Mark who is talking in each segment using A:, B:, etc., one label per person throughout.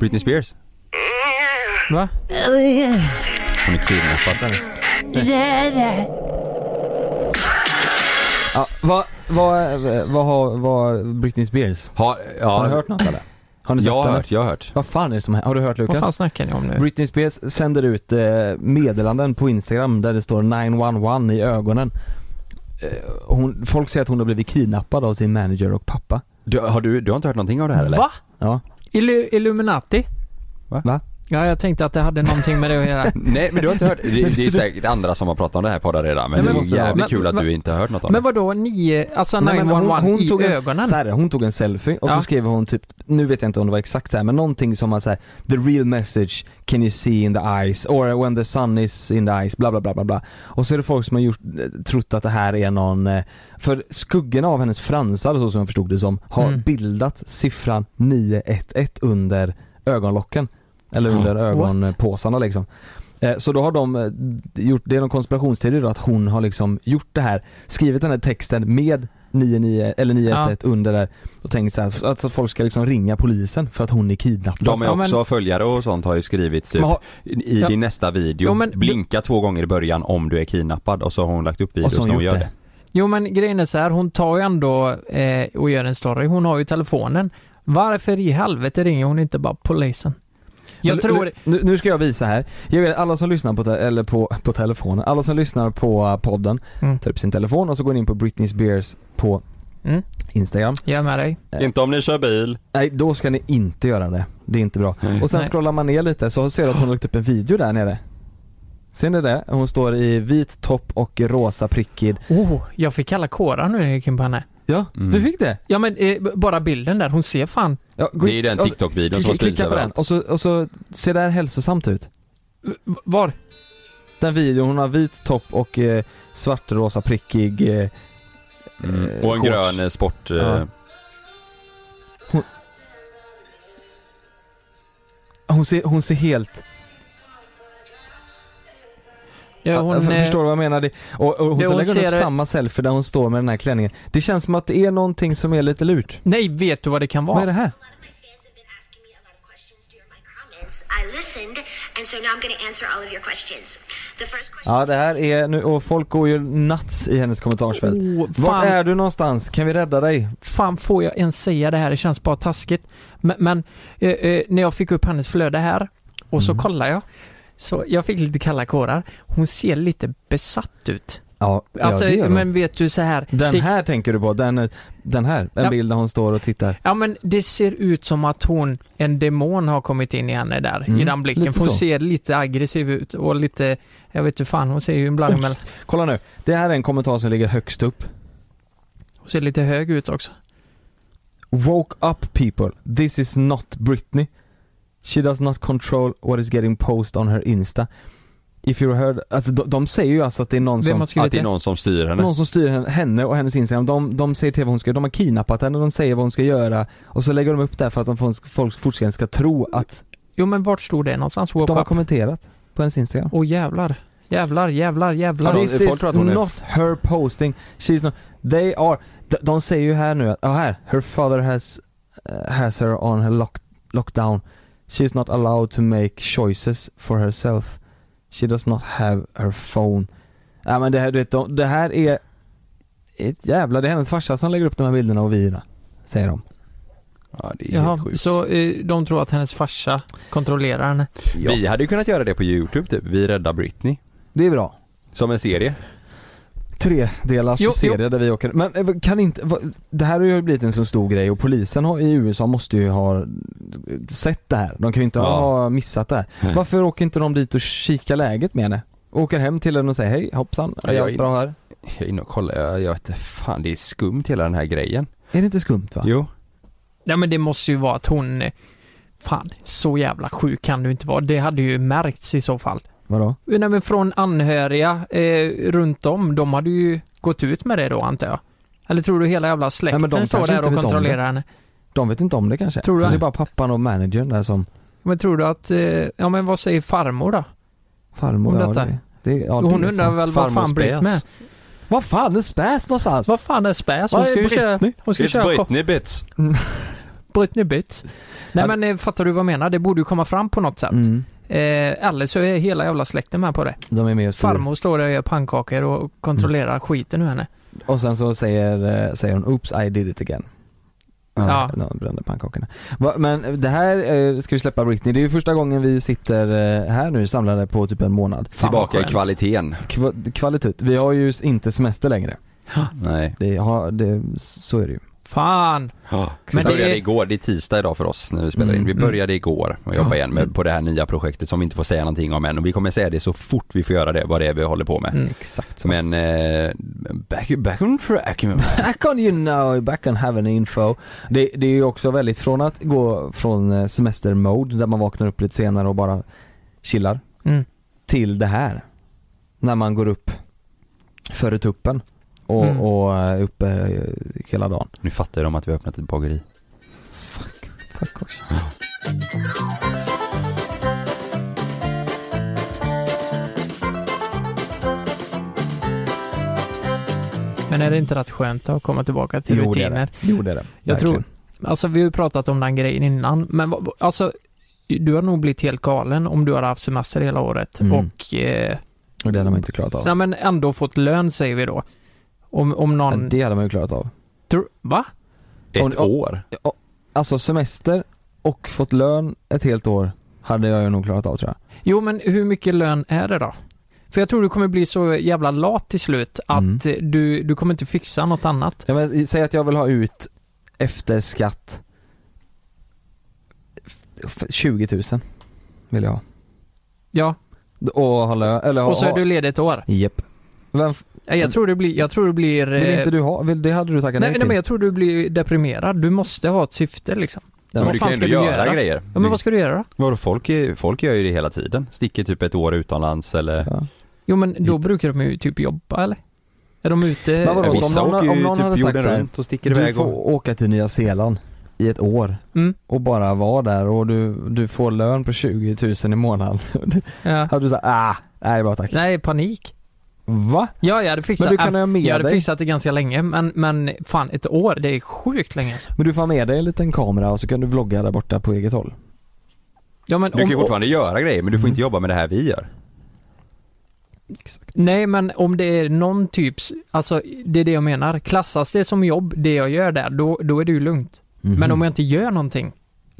A: Britney Spears.
B: Va?
A: Hon är kidnappad.
B: Ja, vad, vad, vad har, vad Britney Spears?
A: Har, ja,
B: Har du hört något eller? Har ni sett
A: Jag har
B: den?
A: hört, jag har hört.
B: Vad fan är det som händer? Har du hört
C: Vad fan
B: Lukas?
C: snackar ni om nu?
B: Britney Spears sänder ut eh, meddelanden på Instagram där det står 911 i ögonen. Eh, Hon, folk säger att hon har blivit kidnappad av sin manager och pappa.
A: Du, har du, du har inte hört någonting av det här eller?
C: Va?
B: Ja.
C: Illu- Illuminati?
B: Va?
C: Ja, jag tänkte att det hade någonting med det att göra.
A: Nej men du har inte hört, det, det är säkert andra som har pratat om det här i podden redan men,
C: Nej, men
A: det
C: måste
A: är
C: det
A: jävligt
C: vara.
A: kul att
C: Men-
A: du inte har hört något om
C: Men
A: det.
C: vad då nio, alltså
B: Nej, men
C: 911
B: hon- hon
C: i
B: tog en-
C: ögonen?
B: Så här, är det, hon tog en selfie och
C: Ja.
B: så skrev hon typ, nu vet jag inte om det var exakt så här, men någonting som man säger The real message can you see in the eyes, or when the sun is in the eyes, bla bla bla bla bla. Och så är det folk som har gjort, eh, trott att det här är någon, eh, för skuggorna av hennes fransar så som jag förstod det som, har
C: Mm.
B: bildat siffran 911 under ögonlocken. Eller under ögonpåsarna liksom. Eh, Så då har de eh, gjort, det är någon konspirationsteori då att hon har liksom gjort det här, skrivit den här texten med 99 eller 911 under där och tänkt så här, så att, så att folk ska liksom ringa polisen för att hon är kidnappad.
A: De är
C: Ja, men-
A: också följare och sånt har ju skrivit typ
B: Men har-
A: i
C: Ja.
A: din nästa video,
C: Jo, men-
A: blinka två gånger i början om du är kidnappad och så har hon lagt upp
B: Och
A: videos
B: så har
A: när
B: hon
A: hon
B: gjort
A: gör det.
B: det.
C: Jo men grejen är så här, hon tar ju ändå eh, och gör en story. Hon har ju telefonen. Varför i helvete ringer hon inte bara polisen? Jag
B: Men
C: tror...
B: nu, nu, nu ska jag visa här. Jag vet, alla som lyssnar på, te- eller på, på telefonen, alla som lyssnar på eh, podden
C: Mm.
B: tar upp sin telefon och så går ni in på Britney Spears på
C: Mm.
B: Instagram.
C: Jag är med dig.
A: Inte om ni kör bil.
B: Nej, då ska ni inte göra det. Det är inte bra. Och sen
C: Nej.
B: scrollar man ner lite så ser du att hon har lagt upp en video där nere. Ser ni det? Hon står i vit topp och rosa prickig.
C: Oh, jag fick kalla kårar nu när jag gick in på henne.
B: Ja,
A: Mm.
B: du fick det?
C: Ja men eh, b- bara bilden där, hon ser fan.
B: Ja, gå
A: Det är
B: in-
A: ju den
B: ja,
A: TikTok-videon som har
B: klicka-
A: spridits
B: Klicka på den
A: överallt.
B: och så, och så ser det här hälsosamt ut.
C: V- Var?
B: Den videon, hon har vit topp och eh, svartrosa prickig eh,
A: Mm. Och en
B: shorts.
A: grön eh, sport... eh,
B: Ja. Hon ser, hon ser helt,
C: Ja, hon,
B: jag för-
C: eh,
B: förstår du vad jag menar? Det, och, och hon,
C: det
B: så
C: hon
B: lägger hon upp
C: ser-
B: samma selfie där hon står med den här klänningen. Det känns som att det är någonting som är lite lurt.
C: Nej, vet du vad det kan
B: Vad är
C: vara?
B: det här?
D: A lot of my fans have been asking me a lot of questions during my comments. I listened, and so now I'm going to answer all of your questions. The first question.
B: Ja det här är nu, och folk går ju nuts i hennes kommentarsfält.
C: Oh,
B: Vart
C: fan.
B: är du någonstans? Kan vi rädda dig?
C: Fan får jag ens säga det här? Det känns bara taskigt. Men, men eh, eh, när jag fick upp hennes flöde här och
B: Mm.
C: så kollar jag. Så jag fick lite kalla kårar. Hon ser lite besatt ut.
B: Ja,
C: Alltså,
B: ja det gör hon.
C: men vet du så här.
B: Den
C: det,
B: här tänker du på? Den, den här? En
C: Ja.
B: bild där hon står och tittar.
C: Ja men det ser ut som att hon, en demon har kommit in i henne där
B: Mm,
C: i den blicken.
B: lite
C: För hon
B: så.
C: ser lite aggressiv ut och lite, jag vet inte fan, hon ser ju en blandning mellan,
B: Kolla nu, det här är en kommentar som ligger högst upp.
C: hon ser lite hög ut också.
B: Woke up people, this is not Britney. She does not control what is getting posted on her Insta. If you heard, alltså de, de säger ju alltså att det är någon
C: Vem
B: som
C: har
A: Att
C: skrivit
A: det är
C: det?
A: någon som styr henne.
B: Någon som styr henne- henne och hennes Instagram, de, de säger till vad hon ska de har kidnappat henne, de säger vad hon ska göra och så lägger de upp det här för att de får- folk fortfarande ska tro att
C: Jo men vart stod det någonstans? Woke
B: de har
C: up?
B: kommenterat på hennes Instagram.
C: Åh jävlar. Jävlar, jävlar, jävlar.
A: Ja, de-
B: This
A: folk
B: is
A: tror att hon är-
B: not her posting, she's not, they are, de, de säger ju här nu att, ja här, her father has, eh, has her on her lock, lockdown. She's not allowed to make choices for herself. She does not have her phone. Ja men det här, du vet, de, det här är ett jävla, det är hennes farsa som lägger upp de här bilderna och vi säger de.
A: Ja, det är
C: Jaha,
A: helt sjukt.
C: så eh, de tror att hennes farsa kontrollerar henne.
A: Vi hade ju kunnat göra det på YouTube typ. Vi räddar Britney.
B: Det är bra.
A: Som en serie.
B: Tre delars
C: Jo, jo.
B: serie där vi åker, men eh, kan inte, vad- det här har ju blivit en så stor grej och polisen har, i USA måste ju ha sett det här, de kan ju inte
A: Ja.
B: ha missat det här.
A: Nej.
B: Varför åker inte de dit och kikar läget med henne? Åker hem till henne och säger hej hoppsan,
A: Ja,
B: är
A: jag
B: jag
A: är-
B: bra här?
A: Jag är inne och kollar, jag, jag vet inte, fan det är skumt hela den här grejen.
B: Är det inte skumt va?
A: Jo.
C: Ja men det måste ju vara att hon, eh, fan, så jävla sjuk kan du inte vara. Det hade ju märkts i så fall.
B: Vadå?
C: Eh, Nej men från anhöriga eh, runt om, de hade ju gått ut med det då antar jag. Eller tror du hela jävla släkten
B: Nej, men de
C: står
B: kanske
C: där
B: inte
C: och
B: vet om
C: kontrollerar henne?
B: De vet inte om det kanske?
C: Tror du
B: det? är
C: det?
B: bara pappan och managern där som
C: Men tror du att, eh, ja men vad säger farmor då?
B: farmor
C: Om
B: ja,
C: detta?
B: det, det, ja,
C: Hon
B: det är
C: undrar
B: sant.
C: väl vad
A: Farmor
C: fan Britt
A: späs.
C: med?
B: Vad fan är späs någonstans?
C: Vad fan är späs? Hon
B: Vad är
C: ska ju köra,
B: Britney?
C: hon ska ju köra,
A: Britney bits.
C: Britney Bits. Nej men eh, fattar du vad jag menar? Det borde ju komma fram på något sätt.
B: Mm.
C: Eh, eller så är hela jävla släkten med på det.
B: De är med och styr.
C: Farmor står där och gör pannkakor och kontrollerar
B: Mm.
C: skiten ur henne.
B: Och sen så säger, eh, säger hon 'Oops, I did it again'
C: Ja.
B: De brände pannkakorna. Va, men det här eh, ska vi släppa Britney, det är ju första gången vi sitter eh, här nu samlade på typ en månad.
C: Fan, vad
A: Tillbaka i
C: skönt.
A: kvaliteten.
B: Kva- kvalitet, vi har ju s- inte semester längre.
A: Nej.
B: Det, har, det, så är det ju.
C: Fan!
A: Men
C: Men
A: det
C: det
A: började
C: är-
A: igår, det är tisdag idag för oss när vi spelar in.
B: Mm,
A: Vi
B: mm.
A: började igår och jobba
B: Ja.
A: igen med, på det här nya projektet som vi inte får säga någonting om än och vi kommer säga det så fort vi får göra det, vad det är vi håller på med.
C: Mm.
B: Exakt så.
A: Men eh, back, back on track.
B: Back on you know, back on having info. Det, det är ju också väldigt från att gå från eh, semestermode där man vaknar upp lite senare och bara chillar
C: Mm.
B: till det här. När man går upp före tuppen och,
C: Mm.
B: och eh, uppe eh, hela dagen.
A: Nu fattar de att vi har öppnat ett bageri.
B: Fuck, fuck också.
C: Men är det inte rätt skönt att komma tillbaka till
B: Jo det är
C: rutiner?
B: det. Jo det är det.
C: Jag
B: Verkligen.
C: Alltså vi har ju pratat om den grejen innan, men vad- alltså du har nog blivit helt galen om du har haft semester hela året
B: Mm.
C: och eh,
B: Och det hade man inte klarat av.
C: nej, men ändå fått lön säger vi då. Om, om
B: Ja,
C: någon...
B: det hade man ju klarat av.
C: Tror, va?
A: Ett
B: Och- och-
A: år?
B: Alltså semester och fått lön ett helt år hade jag ju nog klarat av tror jag.
C: Jo men hur mycket lön är det då? För jag tror du kommer bli så jävla lat till slut att
B: Mm.
C: eh, du, du kommer inte fixa något annat.
B: Ja, men, säg att jag vill ha ut efter skatt f- f- 20 000 vill jag ha.
C: Ja,
B: Och ha lön, eller ha...
C: och så är
B: ha-
C: du ledig ett år.
B: Japp. Vem, f-
C: Nej, Jag tror det blir, jag tror det blir...
B: vill
C: eh,
B: inte du ha? Vill, det hade du tackat nej,
C: nej, nej
B: till.
C: men jag tror du blir deprimerad. Du måste ha ett syfte liksom.
A: Ja, men
C: vad
A: du
C: fan
A: kan ju
C: ska
A: ändå
C: du
A: göra,
C: göra?
A: grejer.
C: Ja men vad ska du göra då?
A: Vadå, folk, är- folk gör ju det hela tiden. Sticker typ ett år utomlands eller...
B: Ja.
C: Jo men då brukar de ju typ jobba eller? Är de ute?
B: Mm. Men vadå,
A: Ja,
B: så
A: vissa
B: om någon-
A: åker ju
B: om någon
A: typ
B: hade sagt
A: jorden
B: så här,
A: runt och sticker
B: Du
A: iväg
B: får
A: och...
B: åka till Nya Zeeland i ett år
C: Mm.
B: och bara vara där och du, du får lön på 20 000 i månaden.
C: Ja.
B: hade du sagt ah, nej bara tack.
C: Nej, panik.
B: Va?
C: Ja, jag hade fixat,
B: Men du kan ha
C: jag
B: med
C: hade
B: dig,
C: fixat det ganska länge men, men fan ett år, det är sjukt länge alltså.
B: men du får ha med dig en liten kamera och så kan du vlogga där borta på eget håll.
C: Ja, men
A: Du kan ju
C: om,
A: fortfarande göra grejer men du får
B: Mm.
A: inte jobba med det här vi gör.
C: Nej men om det är någon typs, alltså det är det jag menar. Klassas det som jobb, det jag gör där, då, då är det ju lugnt.
B: Mhm.
A: Mhm.
C: Men om jag inte gör någonting.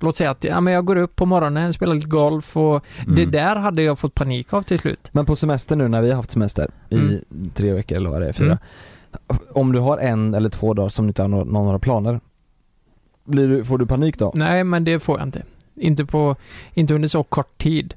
C: Låt säga att ja, men jag går upp på morgonen, spelar lite golf och det
A: Mm.
C: där hade jag fått panik av till slut.
B: Men på semester nu när vi har haft semester i
C: Mm.
B: tre veckor eller vad det är, fyra. Om du har en eller två dagar som du inte har några, några planer, blir du, får du panik då?
C: Nej men det får jag inte. Inte, på, inte under så kort tid.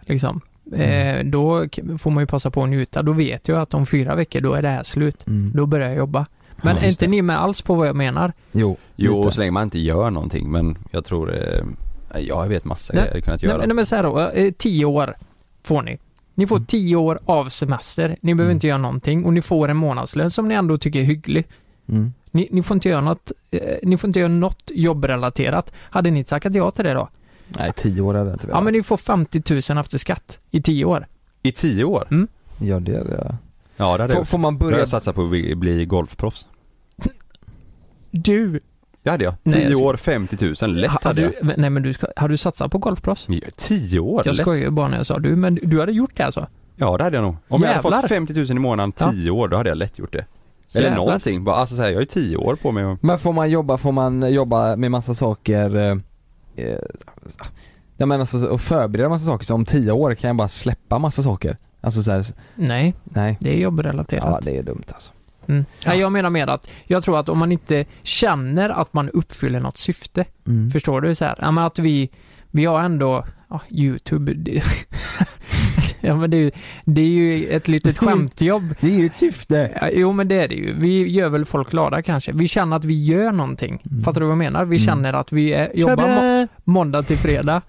C: Liksom.
A: Mm.
C: Eh, då k- får man ju passa på att njuta. Då vet jag att om fyra veckor då är det här slut.
B: Mm.
C: Då börjar jag jobba. Men
B: Ja,
C: är
B: just
C: inte
B: det.
C: ni med alls på vad jag menar?
B: Jo,
A: Jo,
B: lite.
A: så länge man inte gör någonting men jag tror... Eh, ja, jag vet massa
C: Nej.
A: grejer jag hade kunnat
C: Nej,
A: göra.
C: men- nej men så här då, eh, tio år får ni. Ni får
B: Mm.
C: tio år av semester, ni behöver
B: Mm.
C: inte göra någonting och ni får en månadslön som ni ändå tycker är hygglig.
B: Mm.
C: Ni, ni får inte göra något, eh, ni får inte göra något jobbrelaterat. Hade ni tackat ja till det då?
B: Nej, tio år hade jag inte
C: Ja
B: velat.
C: men ni får 50 000 efter skatt i tio år.
A: I tio år?
B: Ja, det hade jag.
A: Ja det hade
B: Får,
A: jag.
B: får man
A: Då hade
B: börja...
A: jag satsat på att bli, bli golfproffs.
C: Du!
A: Det hade jag.
C: Nej,
A: Tio
C: jag ska-
A: år, 50 000, lätt
C: Ha-
A: hade jag.
C: du, nej men du, ska, har du satsat på golfproffs?
A: Ja, Tio år,
C: Jag
A: lätt.
C: skojar ju bara när jag sa du, men du hade gjort det alltså?
A: Ja det hade jag nog. Om jag hade
C: Jävlar.
A: fått 50 000 i månaden,
C: Ja.
A: tio år, då hade jag lätt gjort det. Eller
C: Jävlar.
A: någonting, bara, alltså så här, jag har ju tio år på mig och...
B: Men får man jobba, får man jobba med massa saker, eh, eh, jag menar alltså, och förbereda massa saker, så om tio år kan jag bara släppa massa saker. Alltså så här,
C: Nej,
B: nej.
C: det är jobbrelaterat.
B: Ja, det är dumt alltså.
C: Mm. Nej, jag menar med att jag tror att om man inte känner att man uppfyller något syfte,
B: Mm.
C: förstår du? Så här, ja, men att vi, vi har ändå, ja, YouTube, det, ja, men det, är ju- det är ju ett litet skämtjobb.
B: Det är ju ett syfte.
C: Ja, Jo men det är det ju. Vi gör väl folk glada kanske. Vi känner att vi gör någonting.
B: Mm.
C: Fattar du vad jag menar? Vi
B: Mm.
C: känner att vi är, jobbar må- måndag till fredag.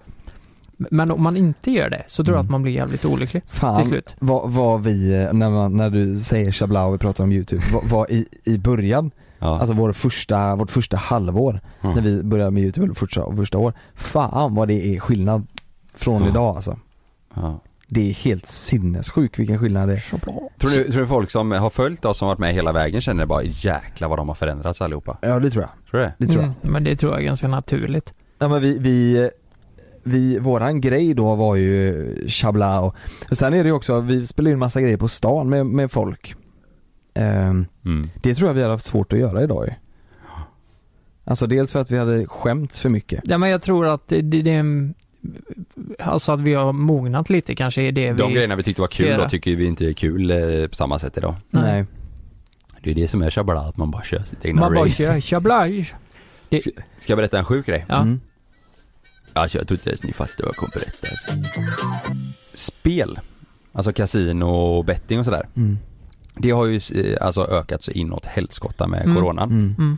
C: Men om man inte gör det så tror jag
B: Mm.
C: att man blir jävligt olycklig till
B: Fan
C: slut.
B: vad, vad vi, eh, när, man, när du säger chabla och vi pratar om youtube, vad, vad i, i början,
A: Ja.
B: alltså vår första, vårt första halvår
A: Mm.
B: när vi började med youtube, eller första, första år, fan vad det är skillnad från
A: Ja.
B: idag alltså.
A: ja.
B: Det är helt sinnessjukt vilken skillnad det är.
A: Tror du, tror du folk som har följt oss som varit med hela vägen känner bara jäkla vad de har förändrats allihopa?
B: Ja det tror jag.
A: Tror du det?
B: Det tror jag.
C: Mm, men det tror jag är ganska naturligt.
B: Ja men vi, vi, vi, våran grej då var ju chabla och, och sen är det ju också, vi spelar in massa grejer på stan med, med folk. Ehm,
A: Mm.
B: det tror jag vi hade haft svårt att göra idag ju. Alltså dels för att vi hade skämts för mycket.
C: Ja, men jag tror att det, det, det är en- Alltså att vi har mognat lite kanske är det
A: De
C: vi...
A: grejerna vi tyckte var kul
C: Flera.
A: då tycker vi inte är kul eh, på samma sätt idag.
C: Nej.
B: Nej.
A: Det är det som är chabla, att man bara kör sitt egna
C: Man bara
A: race.
C: kör chablaj.
A: Ska jag berätta en sjuk grej?
C: Ja.
B: Mm.
A: Alltså jag tror inte ens ni fattar vad jag kommer berätta alltså. Spel, alltså kasino och betting och sådär.
B: Mm.
A: Det har ju eh, alltså ökat så inåt helskotta med
C: Mm.
A: coronan.
B: Mm.
C: Mm.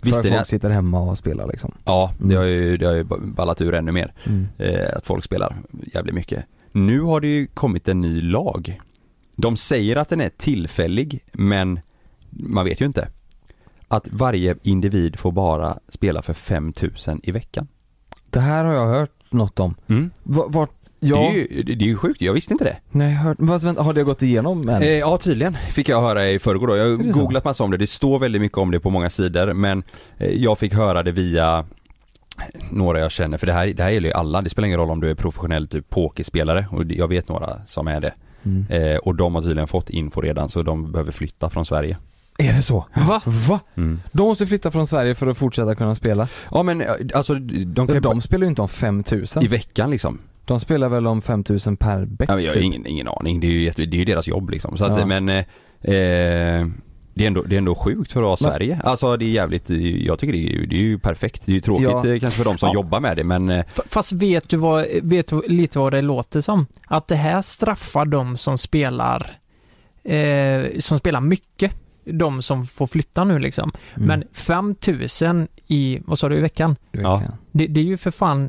B: Visst
A: Visste
B: för
A: ni
B: folk
A: att,
B: sitter hemma och spelar liksom.
A: ja, det
B: Mm.
A: har, ju, det har ju ballat ur ännu mer.
B: Mm.
A: Eh, att folk spelar jävligt mycket. Nu har det ju kommit en ny lag. De säger att den är tillfällig, men man vet ju inte. Att varje individ får bara spela för 5000 i veckan.
B: Det här har jag hört något om. Va- Vart, ja,
A: Det, är ju, det är ju sjukt, jag visste inte det.
B: nej, jag har hört, fast vänta, har det gått igenom än?
A: Eh, ja tydligen, fick jag höra i förrgår då. Jag har
B: Är det så?
A: googlat massa om det, det står väldigt mycket om det på många sidor men eh, jag fick höra det via några jag känner, för det här, det här gäller ju alla. Det spelar ingen roll om du är professionell typ pokerspelare och jag vet några som är det.
B: Mm.
A: Eh, och de har tydligen fått info redan så de behöver flytta från Sverige.
B: Är det så?
C: Va?
B: Va?
A: Mm.
B: De måste flytta från Sverige för att fortsätta kunna spela.
A: Ja men eh, alltså de kan
B: De spelar ju inte om 5000.
A: i veckan liksom.
B: De spelar väl om 5000 per bet
A: Ja, men jag har
B: typ.
A: ingen, ingen aning, det är ju, jätte, det är ju deras jobb liksom. Så att,
B: Ja.
A: men eh, eh, det, är ändå, det är ändå sjukt för att vara
B: Men-
A: Sverige. Alltså det är jävligt, jag tycker det är ju, det är ju perfekt. Det är ju tråkigt
B: Ja.
A: eh, kanske för de som
B: Ja.
A: jobbar med det men eh,
C: F- Fast vet du, vad, vet du lite vad det låter som? Att det här straffar de som spelar eh, som spelar mycket. De som får flytta nu liksom.
B: Mm.
C: Men 5000 i, vad sa du, i veckan?
B: Du
A: Ja.
B: kan.
C: Det, det är ju för fan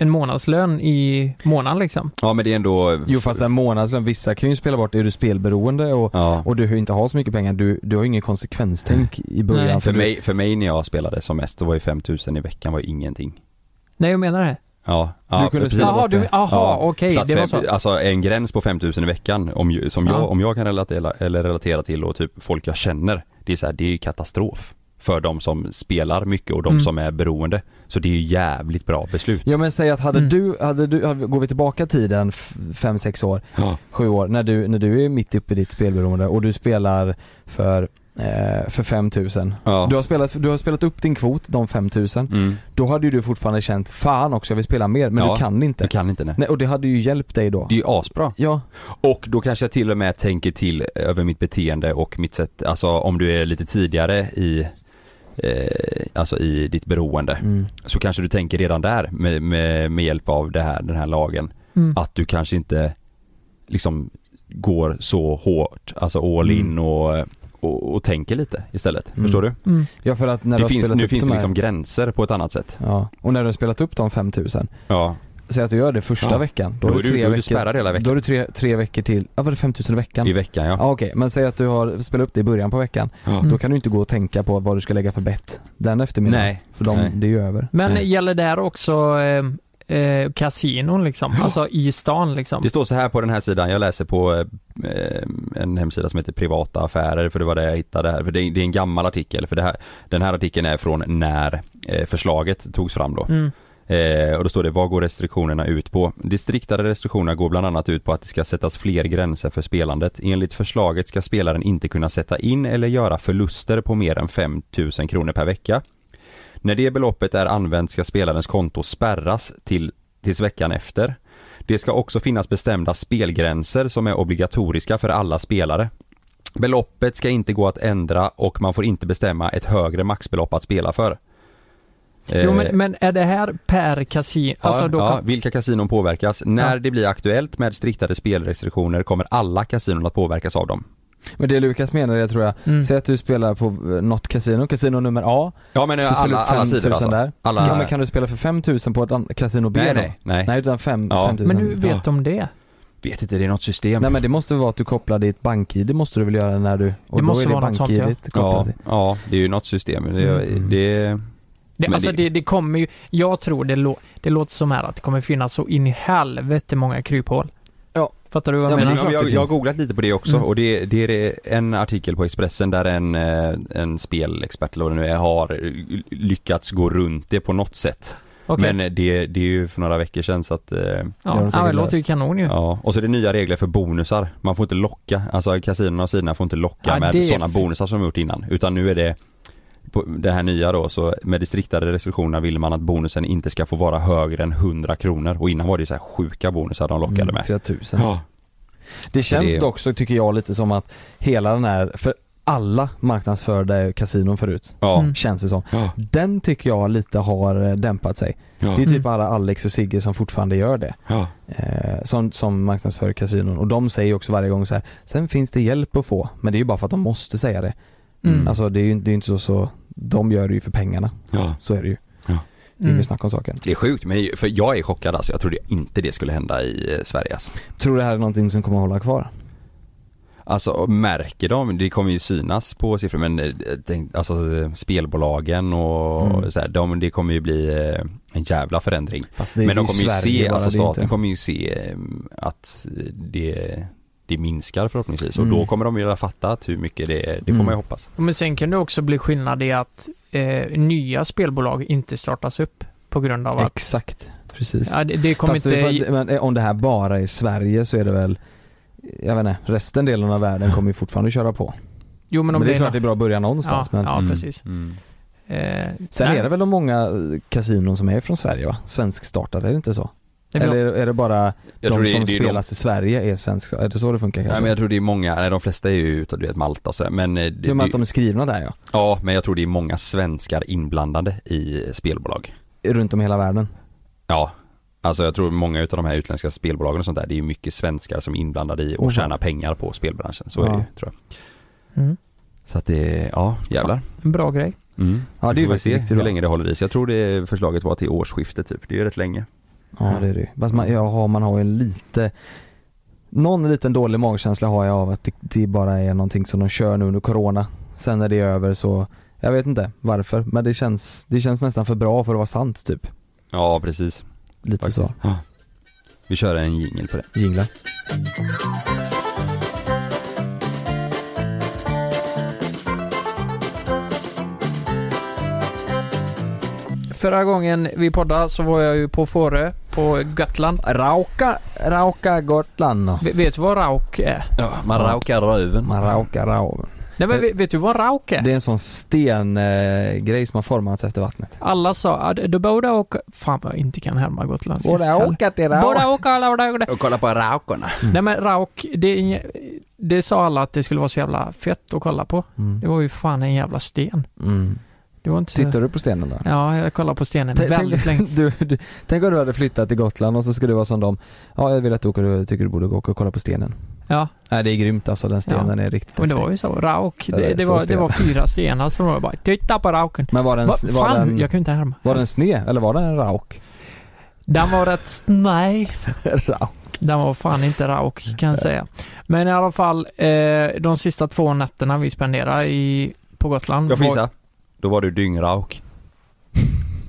C: en månadslön i månaden liksom.
A: ja men det är ändå
B: Jo fast en månadslön, vissa kan ju spela bort, är du spelberoende och,
A: ja.
B: och du inte har så mycket pengar, du, du har ju ingen konsekvenstänk i början.
C: Nej.
B: så
A: för,
B: du,
A: mig, för mig när jag spelade som mest, då var ju 5000 i veckan var ju ingenting.
C: Nej, jag menar det.
A: Ja, ja
B: kunde
A: precis.
B: spela-
C: Jaha, du, aha,
A: Ja,
C: okej,
A: så att
C: det var
A: fem,
C: så.
A: Alltså en gräns på 5000 i veckan om, ju- som
C: Ja.
A: jag, om jag kan relatera, eller relatera till och typ folk jag känner. Det är så här, det är ju katastrof. För de som spelar mycket och de
C: Mm.
A: som är beroende. Så det är ju jävligt bra beslut.
B: Ja men säg att hade
C: Mm.
B: du, hade du, hade, går vi tillbaka tiden 5-6 år,
A: Ja.
B: 7 år, när du, när du är mitt uppe i ditt spelberoende och du spelar för, eh, för 5000.
A: Ja.
B: Du, har spelat, du har spelat upp din kvot, de 5000.
A: Mm.
B: Då hade ju du fortfarande känt, fan också jag vill spela mer, men
A: Ja.
B: du kan inte.
A: Jag kan inte nej.
B: Nej, och det hade ju hjälpt dig då.
A: Det är ju asbra.
B: Ja,
A: Och då kanske jag till och med tänker till eh, över mitt beteende och mitt sätt, alltså om du är lite tidigare i Eh, alltså i ditt beroende
B: mm.
A: så kanske du tänker redan där med, med, med hjälp av det här, den här lagen
C: Mm.
A: att du kanske inte liksom går så hårt, alltså all in
B: Mm.
A: och, och, och tänker lite istället.
B: Mm.
A: Förstår du?
C: Mm.
B: ja för att när du
A: Det
B: har
A: finns,
B: spelat
A: nu
B: upp
A: finns
B: de
A: det
B: här,
A: liksom gränser på ett annat sätt.
B: Ja, och när du har spelat upp de 5000,
A: Ja,
B: säg att du gör det första
A: Ja.
B: veckan,
A: då,
B: då, har
A: är
B: du
A: du,
B: tre
A: då är du
B: veckor,
A: spärrad hela
B: då
A: veckan.
B: har du tre, tre veckor till, ja var det 5000 i veckan?
A: I veckan ja.
B: Ja okej, men säg att du har spelat upp det i början på veckan,
A: Ja.
C: Mm.
B: då kan du inte gå och tänka på vad du ska lägga för bett den eftermiddagen.
A: Nej.
B: För de,
A: Nej.
B: det är ju över.
C: Men
A: Nej.
C: gäller det här också eh, eh, kasinon liksom? Alltså i stan liksom?
A: Det står så här på den här sidan, jag läser på eh, eh, en hemsida som heter Privata Affärer för det var det jag hittade här. För det är, det är en gammal artikel för det här, den här artikeln är från när eh, förslaget togs fram då.
C: Mm.
A: Eh, och då står det, vad går restriktionerna ut på? De striktare restriktionerna går bland annat ut på att det ska sättas fler gränser för spelandet. Enligt förslaget ska spelaren inte kunna sätta in eller göra förluster på mer än 5 000 kronor per vecka. När det beloppet är använt ska spelarens konto spärras till, tills veckan efter. Det ska också finnas bestämda spelgränser som är obligatoriska för alla spelare. Beloppet ska inte gå att ändra och man får inte bestämma ett högre maxbelopp att spela för.
C: Jo,
A: Eh,
C: men, men är det här per kasino? alltså då
A: ja,
C: kan...
A: vilka kasinon påverkas? När
C: Ja.
A: det blir aktuellt med striktare spelrestriktioner kommer alla kasinon att påverkas av dem.
B: Men det Lukas menar det tror jag,
C: Mm.
B: säg att du spelar på eh, något kasino, kasino nummer A,
A: Ja men
B: så spelar
A: alla,
B: du upp 5
A: alla
B: 000
A: sidor alltså.
B: där.
A: Alla-
B: Ja, men kan du spela för 5000 på ett an- kasino B
A: Nej,
B: då?
A: nej, nej.
B: Nej utan 5
A: Ja.
B: 5000.
C: Men hur vet de det?
A: Vet inte, det är något system.
B: Nej men det måste vara att du kopplar ditt bank-id måste du väl göra när du, och
C: Det måste
B: då är det
C: vara något sånt, ja.
B: bank-id kopplat
A: ja,
B: till.
A: ja, det är ju något system. Det,
B: Mm.
A: det,
C: det
A: Men
C: alltså
A: det-
C: det... Det, kommer ju, jag tror det, lå, det låter som här att det kommer finnas så in i helvete många kryphål.
B: Ja,
C: Fattar du vad
A: Ja,
C: jag
A: men
C: menar?
A: jag, jag, jag har googlat lite på det också
C: Mm.
A: och det, det är en artikel på Expressen där en, eh, en spelexpert eller vad det nu är har lyckats gå runt det på något sätt.
C: Okej.
A: Men det, det är ju för några veckor sedan så att eh,
B: Det har de
C: ja,
B: säkert
C: ja, det låter ju
B: löst.
C: kanon ju.
A: Ja, och så är det nya regler för bonusar. Man får inte locka, alltså kasinona och sidorna får inte locka
C: Ja, det är
A: med sådana
C: f-
A: bonusar som de gjort innan. Utan nu är det, på det här nya då, så med de striktare restriktionerna vill man att bonusen inte ska få vara högre än 100 kronor. Och innan var det ju så här sjuka bonusar de lockade med.
B: Mm, Flera tusen.
A: Ja.
B: Det känns
A: det-
B: dock så tycker jag lite som att hela den här, för alla marknadsförde kasinon förut,
A: Ja.
C: Mm.
B: känns det som.
A: Ja.
B: Den tycker jag lite har eh, dämpat sig.
A: Ja.
B: Det är typ
C: Mm.
B: alla Alex och Sigge som fortfarande gör det.
A: Ja.
B: Eh, som, som marknadsför kasinon. Och de säger ju också varje gång så här. sen finns det hjälp att få. Men det är ju bara för att de måste säga det.
C: Mm.
B: Alltså det är ju det är ju inte så, så, de gör det ju för pengarna.
A: Ja.
B: Så är det ju. Det är
C: Mm.
B: inget snack om saken.
A: Det är sjukt, men för jag är chockad alltså. Jag trodde inte det skulle hända i eh, Sverige alltså.
B: Tror du det här är någonting som kommer att hålla kvar?
A: Alltså märker de, det kommer ju synas på siffror men eh, tänk, alltså eh, spelbolagen och
B: Mm.
A: så här, de, det kommer ju bli eh, en jävla förändring.
B: Fast det är
A: men de
B: ju
A: kommer ju
B: Sverige
A: se,
B: bara,
A: alltså
B: det är ju
A: staten
B: inte-
A: kommer ju se eh, att det, det minskar förhoppningsvis
B: Mm.
A: och då kommer de ju ha fattat hur mycket det, det får
B: Mm.
A: man ju hoppas.
C: Men sen kan det också bli skillnad i att eh, nya spelbolag inte startas upp på grund av att...
B: Exakt, precis.
C: Ja, det, det kommer
B: Fast
C: inte...
B: det, men eh, om det här bara är Sverige så är det väl jag vet inte, resten delen av världen kommer ju fortfarande köra på.
C: jo, men
B: Men,
C: om
B: det är klart
C: nå-
B: det är bra att börja någonstans men
C: Ja,
A: Mm.
C: precis.
A: Mm.
C: Eh,
B: Sen
C: nej,
B: är det väl de många eh, kasinon som är från Sverige va? Svenskstartade, är det inte så?
C: det blir-
B: Eller är det bara
A: Jag tror
B: de
A: det,
B: som
A: det är de,
B: spelas i Sverige är svenska? Är det så det funkar
A: nej,
B: kanske?
A: men jag tror det är många, nej de flesta är ju utav du vet Malta och sådär men, eh, det,
B: I och med att
A: det,
B: de är skrivna där ja,
A: ja men jag tror det är många svenskar inblandade i spelbolag.
B: runt om hela världen.
A: Ja, alltså jag tror många utav de här utländska spelbolagen och sånt där, det är ju mycket svenskar som är inblandade i
B: Mhm.
A: och tjänar pengar på spelbranschen. Så
B: Ja.
A: är det ju, tror jag.
C: Mm.
A: Så att det, ja jävlar.
C: En bra grej.
A: Mm.
B: Ja, det är
A: Vi får
B: faktiskt
A: se
B: riktigt
A: hur
B: bra.
A: länge det håller i sig. Jag tror det förslaget var till årsskiftet typ, det är ju rätt länge.
B: Ja det är det ju. Fast man, jag har, man har ju en lite Någon liten dålig magkänsla har jag av att det, det bara är någonting som de kör nu under corona Sen när det är över så Jag vet inte varför men det känns, det känns nästan för bra för att vara sant typ
A: Ja, precis.
B: Lite
A: Faktiskt. Ja. Vi kör en jingel på det.
B: så, jinglar
C: Förra gången vi poddade så var jag ju på Fårö, på Gotland.
B: Rauka, Rauka Gotland
C: V- vet du vad rauk är?
A: Ja, man raukar röven.
B: Man raukar rau.
C: Nej men vet, vet du vad rauk är?
B: Det är en sån stengrej eh, grej som har formats efter vattnet
C: Alla sa att du borde åka... Fan vad jag inte kan härma gotländska.
B: till
C: Borde åka, alla borde åka.
A: Och kolla på raukorna.
C: Nej men rauk, det, är inge, det sa alla att det skulle vara så jävla fett att kolla på.
B: Mm.
C: Det var ju fan en jävla sten.
B: Mm.
C: Det var inte så...
B: Tittar du på stenen då?
C: Ja, jag kollade på stenen
B: Tänk-
C: väldigt länge.
B: Du, du, tänk om du hade flyttat till Gotland och så skulle du vara som dem. Ja, jag vill att du åker och tycker du borde åka och kolla på stenen.
C: Ja,
B: Nej, det är grymt alltså. Den stenen är riktigt
C: men det
B: häftig.
C: var ju så. Rauk,
B: Ja, det
C: det,
B: är
C: det,
B: så
C: var, det
B: sten.
C: var fyra stenar som var bara titta på rauken.
B: Men var den,
C: Va,
B: var,
C: fan,
B: den,
C: jag kan ju inte härma.
B: var den sned eller var den en rauk?
C: Den var rätt snäv.
B: rauk.
C: Den var fan inte rauk kan jag säga. Men i alla fall, eh, de sista två nätterna vi spenderade i, på Gotland.
A: Jag får
C: var-
A: gissa. Då var du dyngrauk.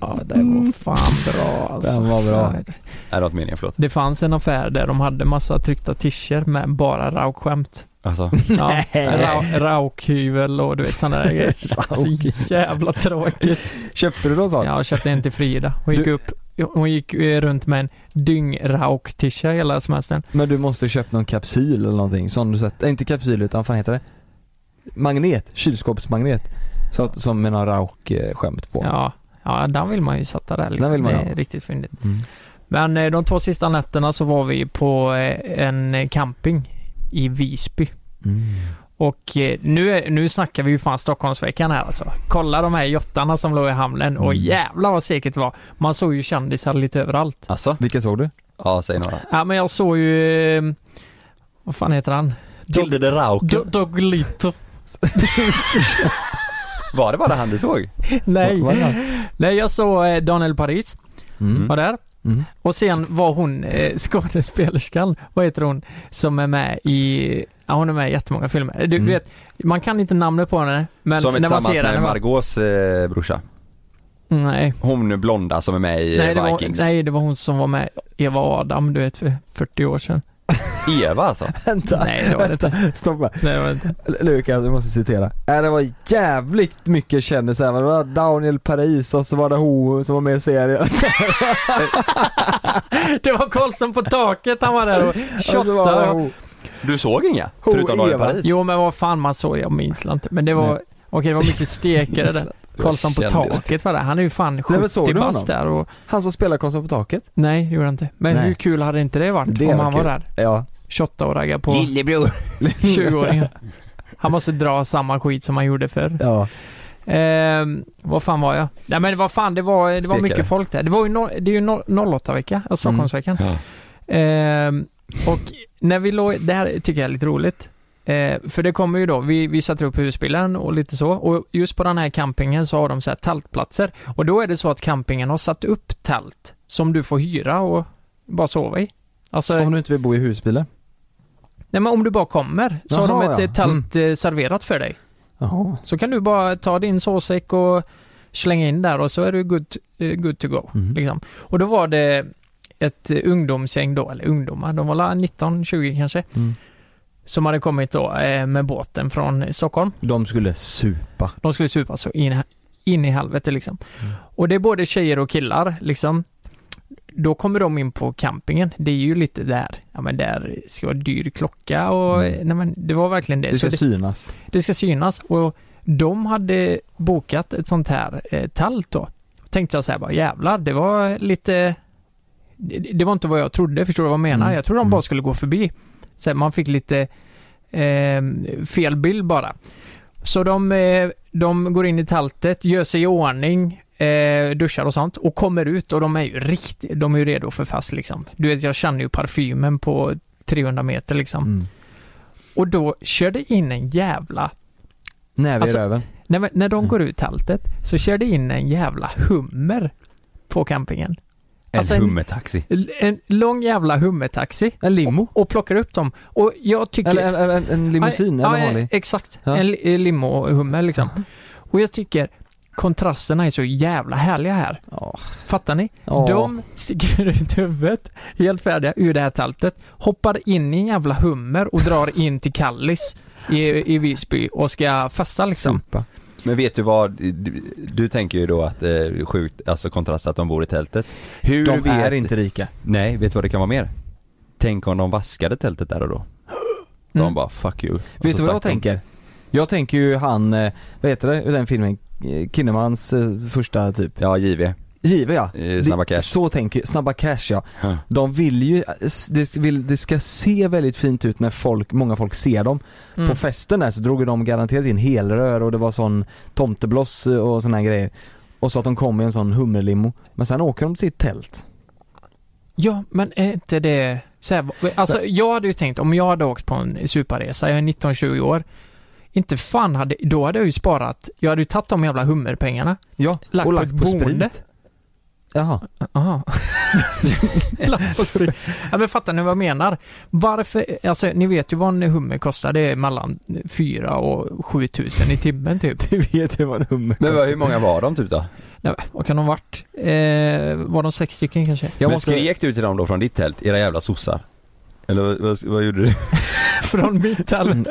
C: Ja, det var fan bra alltså.
B: Den var bra.
C: Ja,
A: Nej, det var inte meningen, förlåt.
C: Det fanns en affär där de hade massa tryckta t-shirts med bara raukskämt.
A: Alltså,
C: Ja, ra- raukhyvel och du vet sådana där grejer. Så jävla tråkigt.
B: Köpte du någon sån?
C: Jag köpte en till Frida. Hon gick
B: Du-
C: upp, hon gick eh, runt med en dyngrauk t-shirt hela semestern.
B: Men du måste köpa någon kapsyl eller någonting. Som du sett, äh, inte kapsyl utan vad fan heter det? Magnet, kylskåpsmagnet. Så, att- som med någon rauk-skämt på.
C: Ja, ja, den vill man ju sätta där liksom.
B: Den vill man
C: det är
B: ha.
C: riktigt fyndigt.
B: Mm.
C: Men eh, de två sista nätterna så var vi på eh, en camping i Visby.
B: Mm.
C: Och eh, nu, är- nu snackar vi ju fan Stockholmsveckan här alltså. Kolla de här jottarna som låg i hamnen och
B: Mm.
C: jävlar vad säkert det var. Man såg ju kändisar lite överallt.
A: alltså?
B: Vilka såg du?
A: Ja, säg några.
C: Ja men jag såg ju... eh, Vad fan heter han? Dog,
A: de rauken.
C: dog, Doglito.
A: Var det bara han du såg?
C: Nej.
B: Var, var det han?
C: Nej jag såg eh, Daniel Paris
B: mm.
C: var där.
B: Mm.
C: Och sen var hon eh, skådespelerskan, vad heter hon, som är med i... Ja, hon är med i jättemånga filmer. Du
B: Mm.
C: vet, man kan inte namnet på henne men
A: Som är
C: när man
A: tillsammans
C: ser henne...
A: med
C: man-
A: Margaux eh, brorsa.
C: Nej.
A: Hon blonda som är med i
C: Nej det,
A: eh,
C: var,
A: Vikings.
C: nej, det var hon som var med Eva Adam, du vet, för 40 år sedan.
A: Eva alltså?
B: Vänta,
C: Nej, det var det inte.
B: stoppa.
C: Nej, jag vet inte.
B: L- Lukas, jag måste citera. Äh, det var jävligt mycket kändisar, det var Daniel Paris och så var det Ho som var med i serien.
C: Det var Karlsson på taket, han var där och
B: Och så var det
C: shottade.
B: Ho.
A: Du såg inga?
B: Oh,
A: Förutom Daniel
B: Eva.
A: Paris?
C: Jo men vad fan man såg, jag minns inte. Men det var,
B: Nej.
C: okej det var mycket stekare där. Karlsson på
A: Kändis.
C: taket var det. Han är ju fan
B: men såg
C: 70
B: du
C: bast
B: honom?
C: där och
B: Han som spelar Konstnär på taket.
C: Nej, det gjorde han inte. Men
B: Nej.
C: hur kul hade inte det varit
B: Det
C: om
B: var
C: han
B: kul.
C: var där?
B: Ja.
C: 28 och raggade på
A: Lillebror.
C: 20-åringen. Han måste dra samma skit som han gjorde förr.
B: Ja.
C: Ehm, vad fan var jag? Nej men vad fan, det var, det var
A: Stekare.
C: mycket folk där. Det, var ju no, det är ju no, 08-vecka, alltså
B: Mm.
C: Stockholmsveckan.
A: Ja.
C: Ehm, och när vi låg, det här tycker jag är lite roligt. Eh, för det kommer ju då, vi, vi satte upp husbilen och lite så. Och just på den här campingen så har de så här tältplatser. Och då är det så att campingen har satt upp tält som du får hyra och bara sova i. Alltså,
B: Om du inte vill bo i husbilen.
C: nej men om du bara kommer så har
B: Jaha,
C: de ett
B: ja. Mm.
C: eh, tält eh, serverat för dig.
B: Jaha.
C: Så kan du bara ta din sovsäck och slänga in där och så är du good, eh, good to go.
B: Mm.
C: Liksom. Och då var det ett eh, ungdomsgäng då, eller ungdomar, de var la 19-20 kanske,
B: Mm.
C: som hade kommit då eh, med båten från Stockholm.
B: De skulle supa.
C: De skulle supa så in, in i helvete liksom. Och det är både tjejer och killar liksom. Då kommer de in på campingen. Det är ju lite där, ja men där ska vara dyr klocka och nej men det var verkligen det.
B: Det
C: Så
B: ska
C: det-
B: synas.
C: det ska synas och de hade bokat ett sånt här eh, tält då. Tänkte jag så här bara jävlar, det var lite det, det var inte vad jag trodde, förstår du vad jag menar?
B: Mm.
C: Jag trodde de
B: Mm.
C: bara skulle gå förbi. Så här, man fick lite eh, fel bild bara. Så de, eh, de går in i tältet, gör sig i ordning, eh, duschar och sånt och kommer ut och de är ju riktigt, de är ju redo för fest liksom. Du vet, jag känner ju parfymen på 300 meter liksom.
B: Mm.
C: Och då kör det in en jävla
B: Näve
C: Alltså-
B: i röven.
C: Nej, men när de
B: Mm.
C: går ut tältet så kör det in en jävla hummer på campingen.
A: En
C: Alltså en-
A: hummertaxi.
C: L- En lång jävla hummertaxi
B: En limo.
C: och plockar upp dem. Och jag tycker...
B: Eller en, en, en, en limousin,
C: Ja,
B: eller
C: ja,
B: vanlig.
C: Exakt.
B: Ja.
C: En li- limo-hummer liksom. Och jag tycker kontrasterna är så jävla härliga här.
B: Ja.
C: Fattar ni?
B: Ja.
C: De sticker ut huvudet, helt färdiga, ur det här tältet, hoppar in i en jävla hummer och drar in till Kallis i, i Visby och ska festa liksom.
B: Supa.
A: Men vet du vad, du, du tänker ju då att eh, sjukt, alltså kontrast att de bor i tältet. Hur
B: De
A: vet,
B: är inte rika.
A: Nej, vet du vad det kan vara mer? Tänk om de vaskade tältet där och då. De
C: Mm.
A: bara 'fuck you' Och
B: Vet
A: så
B: du vad jag
A: stack de.
B: tänker? Jag tänker ju han, eh, vad heter det, i den filmen, Eh, Kinnemans eh, första typ,
A: Ja, JW.
B: Give ja.
A: Eh, Snabba
B: Det-
A: Cash.
B: Så tänker Snabba Cash ja.
A: Ja.
B: De vill ju, eh, det, vill, det ska se väldigt fint ut när folk, många folk ser dem.
C: Mm.
B: På festen där så drog ju de garanterat in helrör och det var sån tomtebloss eh, och såna här grejer. Och så att de kom i en sån hummerlimo. Men sen åker de till sitt tält.
C: Ja, men är inte det så här, Alltså jag hade ju tänkt, om jag hade åkt på en superresa, jag är 19-20 år. Inte fan hade, då hade jag ju sparat, jag hade ju tagit de jävla hummerpengarna.
B: Ja,
C: Lagt
B: och
C: på
B: lagt
C: ett
B: på,
C: boende.
B: sprit. Jaha.
C: Aha. Lagt på sprit. ja, men fattar ni vad jag menar? Varför, alltså ni vet ju vad en hummer kostar, det är mellan 4 och 7 tusen i timmen typ.
B: Du vet ju vad en hummer
A: Men vad,
B: kostar.
A: hur många var de typ då?
C: Nej, men vad kan de ha varit? Eh, var de sex stycken kanske?
A: Jag
B: Men
A: måste... Skrek du till dem då från ditt tält, era jävla sossar? Eller vad, vad, vad gjorde du?
C: Från mitt tält.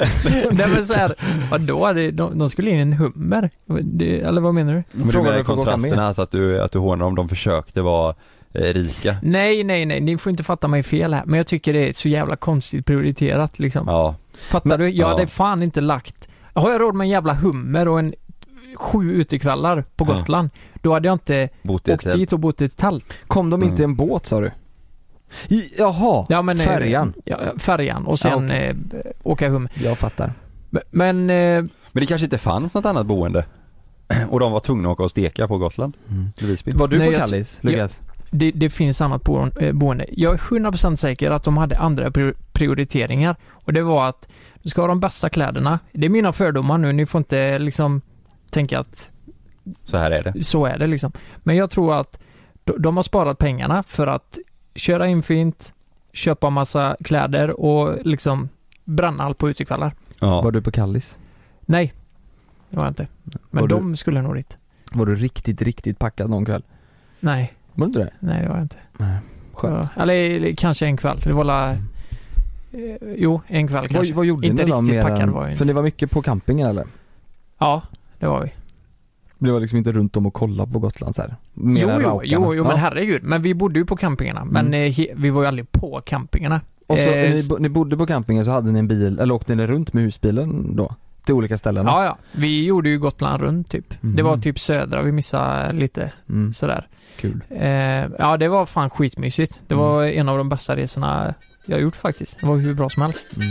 C: Nej men såhär, vadå? Det- De, de skulle in i en hummer? Det, eller vad menar du?
A: Men du
B: Frågade
A: menar
B: du får gå
A: kontrasterna
B: med.
A: alltså att du, att du hånar dem, de försökte vara eh, rika?
C: Nej, nej, nej, ni får inte fatta mig fel här. Men jag tycker det är så jävla konstigt prioriterat liksom.
A: Ja,
C: Fattar du? Jag
A: ja.
C: hade fan inte lagt... Har jag råd med en jävla hummer och en sju utekvällar på
A: Ja.
C: Gotland, då hade jag inte
A: bott i ett
C: åkt
A: tält.
C: dit och bott i ett tält.
B: Kom de inte i en båt sa du? J- Jaha,
C: Mm. Ja, men, eh,
B: färjan.
C: Ja, färjan och sen
B: Ja,
C: eh, åka hummer.
B: Jag fattar.
C: Men, eh,
A: Men det kanske inte fanns något annat boende? Och de var tvungna att åka och steka på Gotland?
B: Mm.
A: i Visby?
B: Var du
C: Nej,
B: på
C: jag-
B: Kallis, Lukas?
C: det, det finns annat bo- eh, boende. Jag är 100% säker att de hade andra prior- prioriteringar och det var att du ska ha de bästa kläderna. Det är mina fördomar nu, ni får inte liksom tänka att
A: Så här är det.
C: så är det liksom. Men jag tror att de, de har sparat pengarna för att köra in fint, köpa massa kläder och liksom bränna allt på utekvällar.
A: Ja.
B: Var du på Kallis?
C: Nej, det var jag inte. Men
B: Var du-
C: de skulle nog dit.
B: Var du riktigt, riktigt packad någon kväll?
C: Nej,
B: Var du inte det?
C: nej det var jag inte.
B: Nej. Skönt.
C: Ja, Eller, eller kanske en kväll. Det var la eh, jo, en kväll
B: Mm. Vad,
C: kanske.
B: vad gjorde
C: inte
B: ni då
C: riktigt
B: mer
C: packad
B: än,
C: var jag
B: För
C: inte.
B: ni var mycket på campingen eller?
C: Ja, det var vi.
B: Det var liksom inte runt om och kolla på Gotland så här? Mer
C: Jo,
B: än
C: jo,
B: Raukarna.
C: jo, jo, men
B: Ja.
C: herregud. Men vi bodde ju på campingarna. Men
B: Mm.
C: eh, he, vi var ju aldrig på campingarna.
B: Och så,
C: Eh,
B: ni,
C: s-
B: bo- ni bodde på campingen så hade ni en bil, eller åkte ni runt med husbilen då? Till olika ställen?
C: Ja, ja. Vi gjorde ju Gotland runt typ.
B: Mhm.
C: Det var typ södra vi missade lite
B: Mm,
C: sådär.
B: kul.
C: Eh, ja, det var fan skitmysigt. Det var en av de bästa resorna jag gjort faktiskt. Det var hur bra som helst.
B: Mm.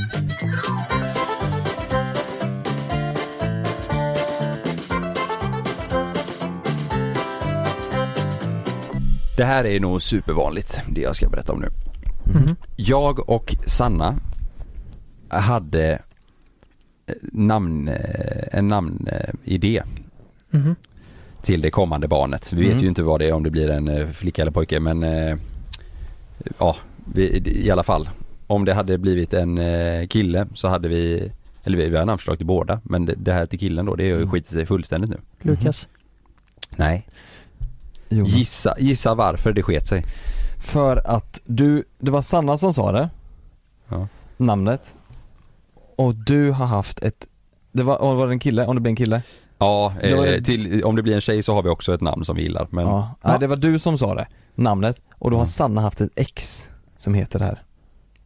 A: Det här är nog supervanligt, det jag ska berätta om nu.
B: Mhm.
C: Mhm.
A: Jag och Sanna hade eh, namn, eh, en namnidé
C: Mhm.
A: till det kommande barnet. Vi
B: Mm.
A: vet ju inte vad det är om det blir en eh, flicka eller pojke men eh, ja, vi, i alla fall. Om det hade blivit en eh, kille så hade vi, eller vi, vi har namnförslag till båda men det, det här till killen då det har ju
B: Mm.
A: skitit sig fullständigt nu.
C: Lukas.
A: Nej.
B: Jonas.
A: Gissa, gissa varför det sket sig.
B: För att du, det var Sanna som sa det
A: Ja.
B: Namnet Och du har haft ett, det var, om det var en kille, om det blev en kille?
A: Ja,
B: Det var
A: eh,
B: det-
A: till, om det blir en tjej så har vi också ett namn som vi gillar men
B: Ja. Nej, det var du som sa det, namnet, och då har
A: Mm.
B: Sanna haft ett ex som heter det här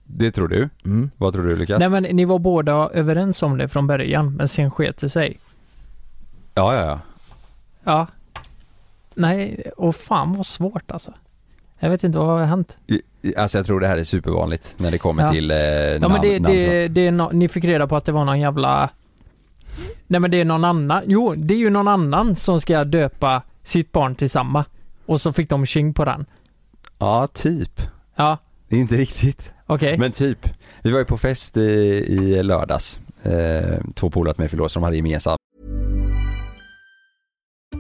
A: det tror du.
B: mm.
A: Vad tror du Lukas?
C: Nej men ni var båda överens om det från början, men sen sket det sig.
A: Ja, ja, ja.
C: Ja. Nej, och fan vad svårt alltså. Jag vet inte vad har hänt.
A: I- i- Alltså jag tror det här är supervanligt när det kommer
C: Ja.
A: till eh,
C: Ja
A: namn.
C: men det,
A: namn.
C: det, det är no- ni fick reda på att det var någon jävla... Nej men det är någon annan, jo det är ju någon annan som ska döpa sitt barn till samma. Och så fick de tjing på den.
A: Ja, typ.
C: Ja,
A: Inte riktigt.
C: okej.
A: Men typ, vi var ju på fest i, i lördags. Eh, två polare till mig förlåt, som hade gemensam.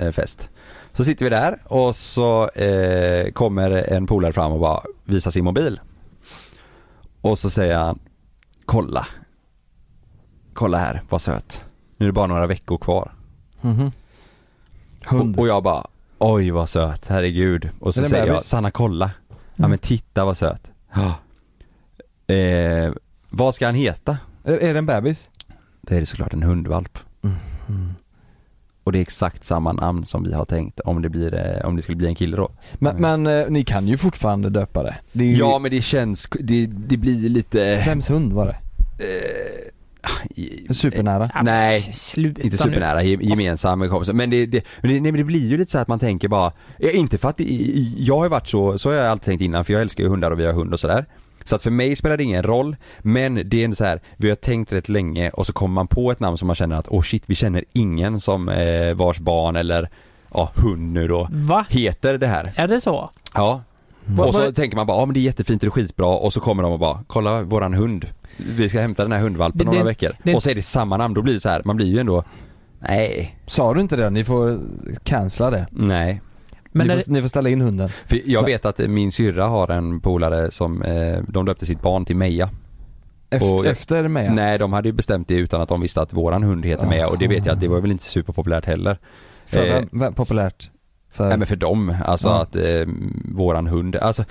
A: eh, fest. Så sitter vi där och så eh, kommer en polare fram och bara visar sin mobil. Och så säger han Kolla Kolla här, vad söt. Nu är det bara några veckor kvar.
B: Hund
A: Och, och jag bara Oj vad söt, herregud. Och så
B: Är det en
A: säger jag
B: bebis?
A: Sanna kolla. Ja
C: Mm.
A: men titta vad söt. Ja. Eh, vad ska han heta?
B: är, är det en bebis?
A: Det är det såklart en hundvalp. Mm-hmm. Och det är exakt samma namn som vi har tänkt om det, blir, eh, om det skulle bli en kille då.
B: Men, men eh, ni kan ju fortfarande döpa det, det är ju,
A: Ja men det känns, det, det blir lite...
B: Vems hund var det?
A: Eh, ah, i- eh, ah.
B: Supernära?
C: Ja, men
A: Nej,
C: s- sluta
A: Inte
C: nu.
A: supernära, ge- gemensam med kompisar. Men det, det, men det, nej, men det blir ju lite så här att man tänker bara, ja, inte för att det, i- i- jag har ju varit så, så har jag alltid tänkt innan för jag älskar ju hundar och vi har hund och sådär. Så att för mig spelar det ingen roll, men det är ändå så här, vi har tänkt rätt länge och så kommer man på ett namn som man känner att åh oh shit, vi känner ingen som eh, vars barn eller ja, hund nu då
C: Va?
A: heter det här.
C: Är det så?
A: Ja.
C: Vad-
A: Och så
C: vad-
A: tänker man bara, ja men det är jättefint, det är skitbra och så kommer de och bara, kolla våran hund. Vi ska hämta den här hundvalpen
C: Det-
A: om några
C: det-
A: veckor.
C: det-
A: och så är det samma namn, då blir det så här, man blir ju ändå, nej,
B: Sa du inte det? Ni får cancella det
A: nej.
C: Men
B: ni,
C: är
B: får,
C: det,
B: ni får ställa in hunden
A: För jag vet att min syrra har en polare som, eh, de döpte sitt barn till Meja.
B: Efter,
A: Och-
B: efter med
A: Nej, de hade ju bestämt det utan att de visste att våran hund
C: Ah.
A: heter Meja och det vet jag att det var väl inte superpopulärt heller.
B: För
A: Eh,
B: vem, vem, populärt? För,
A: Nej men för dem, alltså
B: Ja.
A: att eh, våran hund, alltså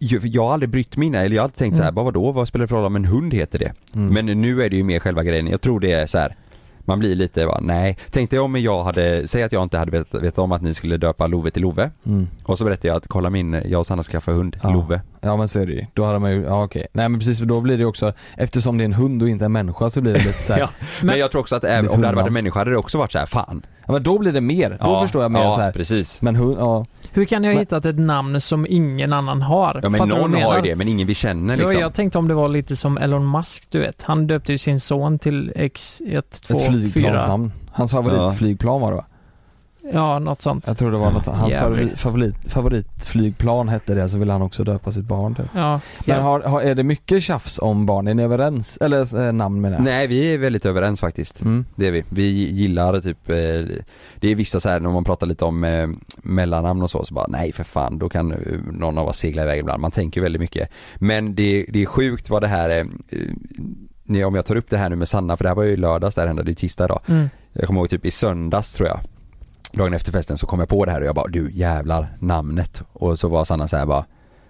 A: jag, jag har aldrig brytt mig innan, eller jag har alltid tänkt så
B: Mm.
A: här, bara vadå, vad spelar det för roll om en hund heter det? Men nu är det ju mer själva grejen, jag tror det är så här. Man blir lite va, nej. Tänk dig om jag hade, säg att jag inte hade vetat, vetat om att ni skulle döpa Love till Love.
B: mm.
A: Och så berättade jag att kolla min, jag och Sanna skaffa hund,
B: Ja.
A: Love.
B: Ja men så är det ju, då hade man ju, ja okej. Nej men precis för då blir det ju också, eftersom det är en hund och inte en människa så blir det lite såhär,
A: Ja.
B: ja.
A: Men, jag tror också att även om det hade varit en människa hade det också varit så här, fan.
B: men då blir det mer, då
A: Ja,
B: förstår jag mer
A: ja,
B: så här.
A: precis.
B: Men hund, ja.
C: hur kan jag ha
B: Men-
C: hittat ett namn som ingen annan har?
A: Ja men
C: Fattar du vad jag
A: någon har ju
C: menar?
A: det, men ingen vi känner liksom.
C: Ja, jag tänkte om det var lite som Elon Musk, du vet. Han döpte ju sin son till X124.
B: Ett flygplansnamn. Hans
A: Ja.
B: favoritflygplan var det va?
C: Ja, något sånt.
B: Jag tror det var något, hans favorit,
C: Jävligt.
B: favorit, favoritflygplan hette det, så ville han också döpa sitt barn till.
C: Ja,
B: Men
C: ja.
B: har, har, är det mycket tjafs om barn? Är ni överens? Eller eh, namn menar jag.
A: Nej vi är väldigt överens faktiskt.
B: Mm.
A: Det är vi. Vi gillar typ, eh, det är vissa så här när man pratar lite om eh, mellannamn och så, så bara nej för fan, då kan eh, någon av oss segla iväg ibland. Man tänker ju väldigt mycket. Men det, det är sjukt vad det här är, eh, när- om jag tar upp det här nu med Sanna, för det här var ju i lördags, det här hände, det är ju tisdag idag.
C: Mm.
A: Jag kommer ihåg typ i söndags tror jag Dagen efter festen så kom jag på det här och jag bara du jävlar namnet och så var Sanna så här bara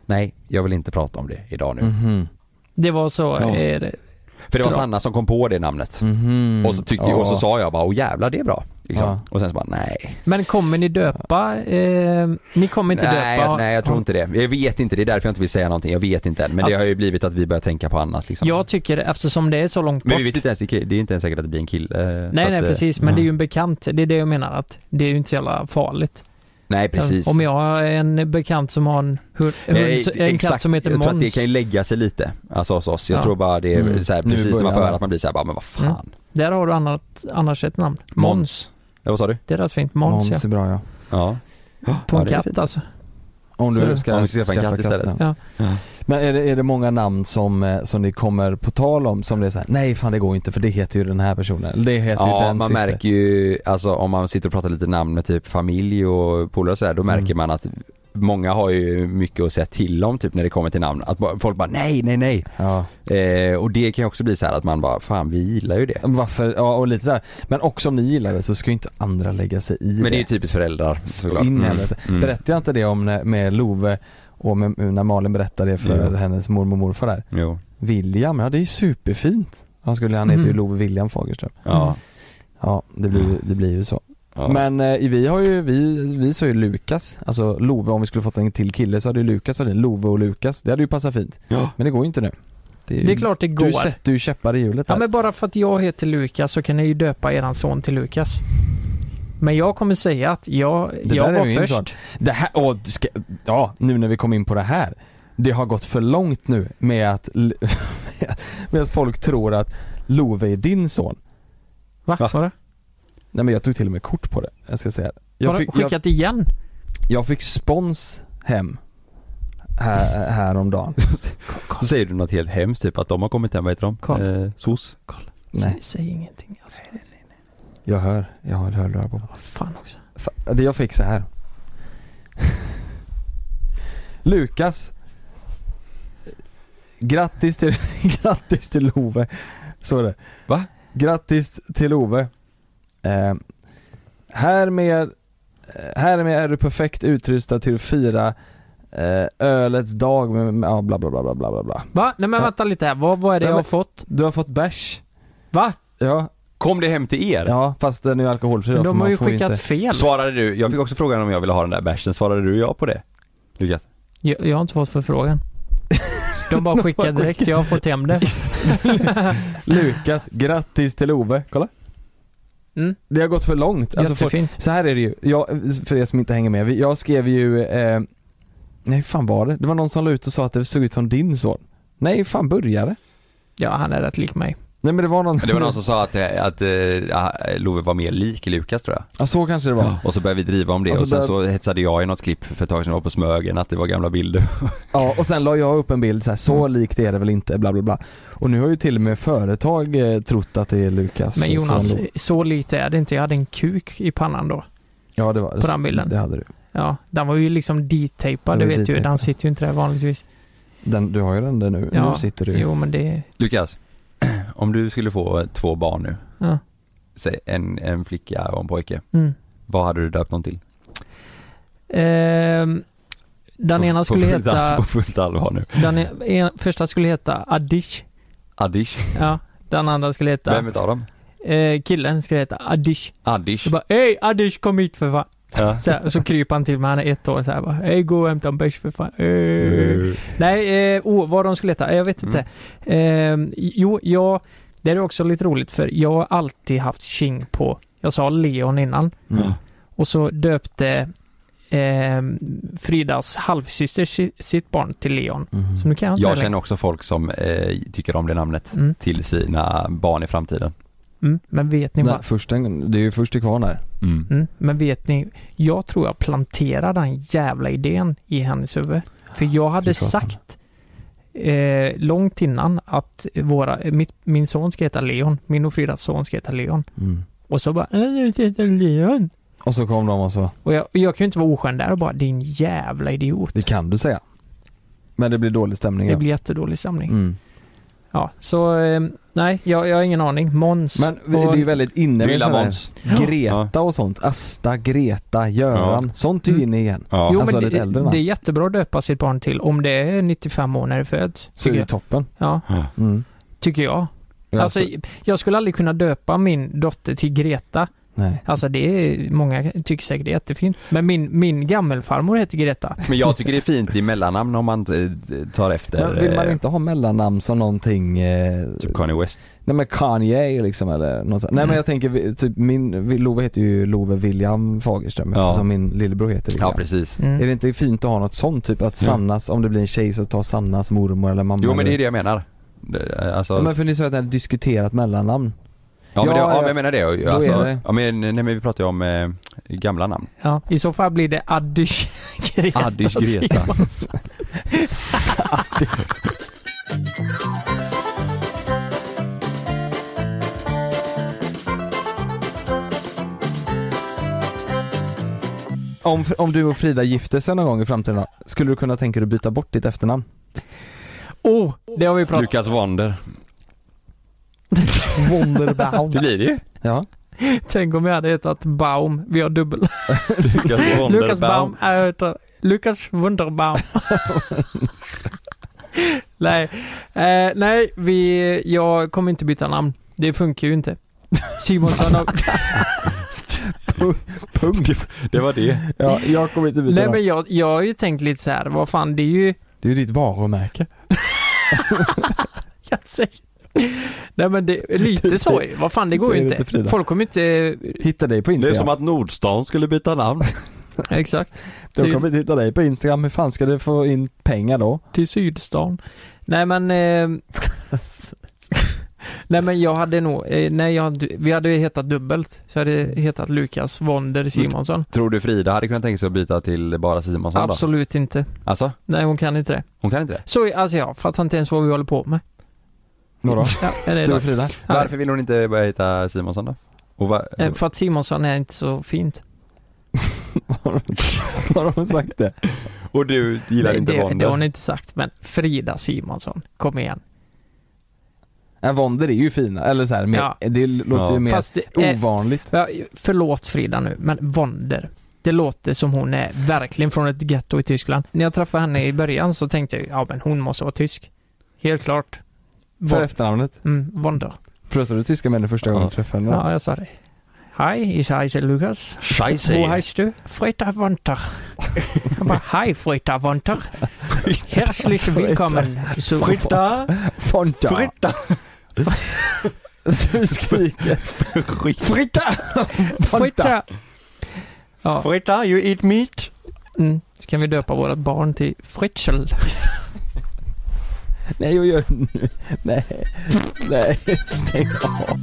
A: Nej jag vill inte prata om det idag nu
B: Mhm.
C: Det var så.
B: Ja.
C: eh, det-
A: För det var
C: Bra.
A: Sanna som kom på det namnet
B: Mhm.
A: och så tyckte och så sa jag bara åh jävlar det är bra liksom.
B: Ja.
A: Och sen så bara nej
C: Men kommer ni döpa? Eh, ni kommer inte
A: nej,
C: döpa?
A: jag, nej jag tror inte det. Jag vet inte, det är därför jag inte vill säga någonting. Jag vet inte än. Men det
C: Alltså-
A: har ju blivit att vi börjar tänka på annat liksom.
C: Jag tycker, eftersom det är så långt bort.
A: men vi vet inte ens, det är inte ens säkert att det blir en kille. eh, så
C: nej, nej
A: att, eh,
C: precis. Men
B: ja.
C: det är ju en bekant. Det är det jag menar att det är ju inte så jävla farligt.
A: Nej precis.
C: Om jag har en bekant som har en, hund, en,
A: Nej,
C: hund- en katt som heter
A: jag tror att det
C: Måns.
A: kan ju lägga sig lite, alltså hos oss. Jag
C: Ja.
A: tror bara det är
B: Mm.
A: så här,
B: Nu
A: precis när man
B: börjar
A: får höra
B: det.
A: att man blir så här, bara, men vad fan.
C: Där har du annat, annars ett namn.
A: Måns. Ja, vad sa du?
C: Det är rätt fint.
B: Måns
C: Måns ja.
B: är bra ja.
A: Ja.
C: På
A: Ja,
C: en
A: det är
C: katt
A: fint.
C: alltså.
B: Om
A: Så är
B: du
A: det.
B: ska
A: Om vi ska skaffa en
B: skaffa
A: katt istället.
B: katten.
C: Ja.
B: Men är det, är det många namn som, eh, som ni kommer på tal om som det är såhär, nej fan det går inte för det heter ju den här personen, eller det heter ju
A: Ja,
B: den
A: man
B: syster.
A: märker ju, alltså om man sitter och pratar lite namn med typ familj och polare och sådär, då märker
B: Mm.
A: man att många har ju mycket att säga till om typ när det kommer till namn. Att bara- folk bara nej, nej, nej.
B: Ja.
A: Eh, och det kan ju också bli så här att man bara, fan vi gillar ju det.
B: Varför, ja och lite såhär, men också om ni gillar det så ska ju inte andra lägga sig i
A: Men det är ju typiskt föräldrar såklart.
B: In i
A: Mm.
B: helvete.
A: Mm.
B: Berättade jag inte det om när, med Love och med, när Malin berättade det för
A: Jo.
B: hennes mormor och morfar där?
A: Jo.
B: William, ja det är ju superfint. Han, skulle, han heter ju
C: Mm.
B: Love William Fagerström.
A: Ja.
B: Ja, det blir, ju- det blir ju så.
A: ja.
B: Mm. Men eh, vi har ju, vi, vi sa ju Lukas, alltså Love, om vi skulle fått en till kille så hade ju Lukas varit det. Love och Lukas, det hade ju passat fint.
A: Ja.
B: Men det går ju inte nu. ju-
C: Det är klart det
B: Du
C: går.
B: sätter ju käppar i hjulet
C: Ja,
B: där.
C: men bara för att jag heter Lukas så kan ni ju döpa eran son till Lukas. Men jag kommer säga att jag,
B: Det
C: jag
B: där är
C: var
B: ju
C: först.
B: intressant. Det här, åh, du ska, ja nu när vi kom in på det här. Det har gått för långt nu med att, l- med att folk tror att Love är din son.
C: Va?
A: Va?
C: Vadå?
B: Nej men jag tog till och med kort på det, jag ska säga det.
C: Har
B: jag
C: du
B: fick,
C: skickat
B: jag,
C: igen?
B: jag fick spons hem här, häromdagen.
A: Så säger du något helt hemskt, typ att de har kommit hem, vad heter de?
C: Karl.
A: Eh, SOS?
B: Nej,
C: Säg, säg ingenting. Alltså.
B: jag hör, jag har hörlurar på.
C: Vad fan också.
B: Fa- Det jag fick så här. Lukas. Grattis till, grattis till Ove. Så är det.
A: Va?
B: Grattis till Ove. Eh, härmed, eh, härmed är du perfekt utrustad till att fira eh, ölets dag med, med ja, bla, bla bla bla bla bla bla.
C: Va? Nej men
B: Ja.
C: vänta lite här. Vad, vad är det
B: Nej,
C: jag
B: men-
C: har fått?
B: Du har fått bärs.
C: Va?
B: Ja,
A: Kom det hem till er?
B: ja, fast den är ju alkoholfri då, för
C: De har
B: man
C: ju
B: får
C: skickat
B: inte-
C: fel.
A: Svarade du, jag fick också frågan om jag ville ha den där bärsen, svarade du ja på det? Lukas?
C: Jag, jag har inte fått förfrågan. De bara skickar direkt. Jag har fått hem det.
B: Lukas, grattis till Ove. Kolla.
C: Mm.
B: Det har gått för långt. Alltså, folk-
C: Jättefint.
B: Så här är det ju, jag, för er som inte hänger med. Vi- Jag skrev ju, eh, nej hur fan var det? Det var någon som la ut och sa att det såg ut som din son. Nej hur fan började
C: Ja, han är rätt lik mig.
B: Nej men det var någon,
A: Det var någon som sa att, eh, att eh, ja, Love var mer lik Lukas tror jag.
B: ja så kanske det var. Ja,
A: Och så började vi driva om det
B: Alltså,
A: och sen
B: där-
A: så hetsade jag i något klipp för ett tag sedan, jag var på Smögen, att det var gamla bilder.
B: och sen la jag upp en bild så här, så
A: Mm.
B: likt är det väl inte, bla bla bla. Och nu har ju till och med företag eh, trott att det är Lukas
C: Men Jonas,
B: son.
C: så lite är det inte. Jag hade en kuk i pannan då.
B: Ja det var
C: på den bilden.
B: Det hade du.
C: Ja, den var ju liksom
B: Den
C: detejpad, det
B: var
C: vet du ju. Den
B: detejpad.
C: sitter ju inte där vanligtvis.
B: Den, du har ju den där nu,
C: Ja,
B: nu sitter du
C: Jo, men det...
A: Lukas, om du skulle få två barn nu,
C: Ja.
A: säg en, en flicka och en pojke,
C: Mm.
A: vad hade du döpt dem till?
C: Ehm, den
A: På-
C: ena
A: på
C: skulle
A: fullt all- På
C: heta...
A: fullt allvar nu.
C: Den en, en, första skulle heta Adish.
A: Adish,
C: Ja, den andra skulle heta...
A: vem utav dem?
C: Eh, killen skulle heta Adish.
A: Adish.
C: Så bara Hej Adish kom hit för fan.
A: Ja.
C: Så, här, och så kryper han till mig, han är ett år så här bara Hej gå och hämta en bärs för fan. Eh.
B: Mm.
C: Nej, eh, oh, vad de skulle heta, jag vet inte. Eh, jo, jag, det är också lite roligt för jag har alltid haft tjing på, jag sa Leon innan,
B: Mm.
C: och så döpte eh, Fridas halvsyster si- sitt barn till Leon.
B: Mhm.
C: Så nu kan jag inte
A: Jag
C: längre.
A: känner också folk som eh, tycker om det namnet
C: Mm.
A: till sina barn i framtiden.
C: Mm, men vet ni
B: Nej,
C: vad?
B: först en, det är ju först till kvarn där.
A: Mm.
C: Mm, men vet ni? Jag tror jag planterar den jävla idén i hennes huvud. För jag hade
B: Fy fan.
C: sagt eh, långt innan att våra, mitt, min son ska heta Leon. Min och Fridas son ska heta Leon.
A: Mm.
C: Och så bara "Äh, jag ska heta Leon.
B: Och så kom de och så,
C: Och jag, jag kan ju inte vara oskön där och bara din jävla idiot.
B: det kan du säga. Men det blir dålig stämning.
C: Det
B: ja.
C: blir jättedålig stämning.
B: mm.
C: Ja, så eh, nej, jag, jag har ingen aning. Måns.
B: Men vi,
C: och-
B: det är ju väldigt inne med
A: Lilla
B: sådana här-
A: Måns.
B: Greta och sånt. Asta, Greta, Göran.
A: Ja.
B: Sånt är ju
C: Mm.
B: inne igen.
A: Ja.
C: Jo,
B: alltså
C: men
B: lite
C: det,
B: äldre, va?
C: det är jättebra att döpa sitt barn till om det är 95 år när det föds.
B: Så är
C: Tycker
B: det ju
C: jag.
B: toppen.
C: Ja,
B: Mm.
C: tycker jag.
B: Ja,
C: Alltså,
B: så-
C: jag skulle aldrig kunna döpa min dotter till Greta.
B: nej.
C: Alltså det är, många tycker säkert det är jättefint. Men min, min gammelfarmor heter Greta.
A: Men jag tycker det är fint i mellannamn om man eh, tar efter
B: Men vill man
A: eh,
B: inte ha mellannamn som någonting, eh,
A: typ Kanye West.
B: nej men Kanye liksom eller något sånt. Nej
C: Mm.
B: men jag tänker vi- typ min, vi- Love heter ju Love William Fagerström
A: Ja.
B: eftersom min lillebror heter
A: Ja
B: William.
A: precis.
C: Mm.
B: Är det inte fint att ha något sånt? Typ att
A: Ja.
B: Sannas, om det blir en tjej så tar Sannas mormor eller mamma
A: Jo men det
B: eller-
A: är det jag menar. Det, alltså,
B: Ja, men för ni sa att ni hade diskuterat mellannamn.
A: ja, men det,
B: ja,
A: ja,
B: ja.
A: men jag menar det.
B: är
A: Alltså,
B: det.
A: Ja, men, nej men vi pratar ju om eh, gamla namn.
C: Ja, I så fall blir det Addish Greta.
A: Addish Greta.
C: Simonsson.
B: Om, om du och Frida gifte sig någon gång i framtiden då, skulle du kunna tänka dig att byta bort ditt efternamn?
C: Oh, det har vi pratat
A: Lukas Wander.
B: Wonderbaum.
A: Det blir det ju.
B: ja.
C: Tänk om jag hade hetat Baum. Vi har dubbel.
A: Lukas
C: Lukas Baum är ute. Lukas Wunderbaum. nej, eh, nej vi, jag kommer inte byta namn. Det funkar ju inte. Simonsson har...
A: Punkt. Det var det.
B: ja, jag kommer inte byta
C: Nej
B: namn.
C: men jag, jag har ju tänkt lite så här. vad fan det är ju...
B: Det är ditt varumärke.
C: Jag säger, nej men det är lite så ju. Vad fan det går ju
B: Säger du till
C: inte.
B: Frida?
C: Folk kommer inte...
B: Hitta dig på Instagram.
A: att Nordstan skulle byta namn.
C: eh, Exakt.
B: De kommer inte hitta dig på Instagram, hur fan ska du få in pengar då?
C: till Sydstan. Nej men... Eh, nej men jag hade nog, eh, nej jag, hade- vi hade ju hetat dubbelt. Så jag hade hetat Lukas Wonder Simonsson.
A: Tror du Frida hade kunnat tänka sig att byta till bara Simonsson då?
C: Absolut inte.
A: Alltså,
C: Nej hon kan inte det.
A: hon kan inte det.
C: Så alltså jag fattar inte ens vad vi håller på med.
B: Några.
C: Ja, eller,
B: Du och Frida?
A: Varför vill hon inte börja heta Simonsson då? Och va-
C: Eh, För att Simonsson är inte så fint.
B: Har de sagt det?
A: Och du gillar
C: Nej,
A: inte
C: det, det har hon
A: Wander?
C: inte sagt men Frida Simonsson, kom igen.
B: Ja, Wonder är ju fina, eller så här, mer,
C: Ja.
B: det låter
A: Ja.
B: ju mer
C: Fast eh, det är-
B: ovanligt.
C: Ja, Förlåt Frida nu, men Wonder. Det låter som hon är verkligen från ett ghetto i Tyskland. När jag träffade henne i början så tänkte jag ja men hon måste vara tysk. Helt klart.
B: För
C: Von,
B: efternamnet.
C: mm, Wonder.
B: Pratade du tyska med henne första gången
A: Ja.
B: du träffade henne?
C: Ja, jag sa det. Hej, ich heiße Lukas. Wo
A: Scheisse.
C: heißt du? Frida Wonder. Jag bara, Hej Frida Wonder. Herzlich willkommen. zu-
B: Fonta!
A: Fritta.
B: Så vi skriker. Fritta!
C: Frida. Ja.
A: Fritta, you eat meat.
C: Mm. Så kan vi döpa vårt barn till Fritzl.
B: Nej, jag gör nu. Nej, nej, stäng av.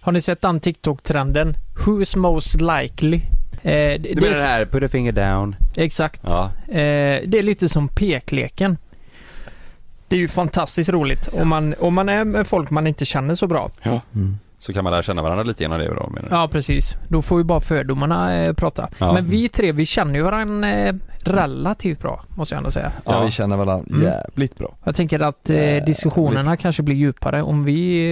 C: Har ni sett den TikTok-trenden? Who's most likely? Eh, det,
A: Du
C: det
A: menar det
C: är,
A: här, put a finger down.
C: exakt.
A: Ja.
C: Eh, det är lite som pekleken. Det är ju fantastiskt roligt om man, om man är med folk man inte känner så bra.
A: Så kan man lära känna varandra lite genom det då menar du?
C: Ja, precis. Då får ju bara fördomarna eh, prata.
A: Ja.
C: Men vi tre, vi känner ju varandra eh, relativt bra, måste jag ändå säga.
B: Ja,
A: Ja.
B: vi känner varandra
C: Mm.
B: jävligt bra.
C: Jag tänker att eh, diskussionerna kanske blir djupare om vi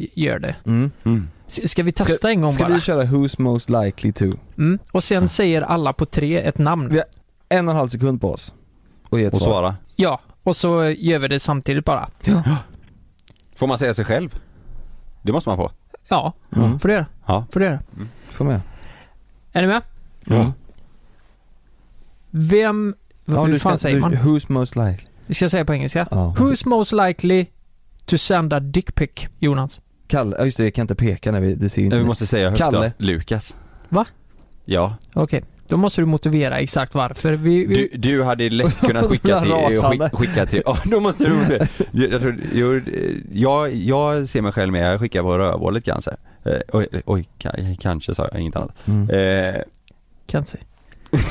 C: eh, gör det.
B: Mm.
A: Mm.
C: S- ska vi testa en gång
B: Ska
C: bara?
B: vi köra Who's Most Likely To?
C: Mm. Och sen säger alla på tre ett namn.
B: Vi- En och en halv sekund på oss. Och ge ett
A: Och
B: svar.
A: svara.
C: Ja, och så gör vi det samtidigt bara.
A: Får man säga sig själv? Det måste man få.
C: Ja,
B: Mm.
C: får du göra.
A: Ja.
C: Får du göra.
B: Får med.
C: Är ni med?
B: Ja.
C: Vem...
B: Ja,
C: hur
B: du
C: fan
B: ska-
C: säger
B: du-
C: man?
B: Who's Most Likely?
C: Vi ska säga på engelska.
B: Ja.
C: Who's most likely to send a dick pic, Jonas?
B: Kalle, ja just det, jag kan inte peka när vi, det ser ju inte
A: Vi
B: ni.
A: måste säga högt
B: Kalle.
A: då. Lukas.
C: Va?
A: Ja.
C: Okej, då måste du motivera exakt varför. Vi, vi,
A: Du, du hade lätt kunnat skicka till, eh,
B: Rasande.
A: skick, skicka till, ja då måste du, jag, tror, jag, jag, jag ser mig själv med, jag skickar på rövhålet kanske. Eh, oj, oj ka- kanske sa jag, inget annat.
B: Mm.
A: Eh,
C: Kanske.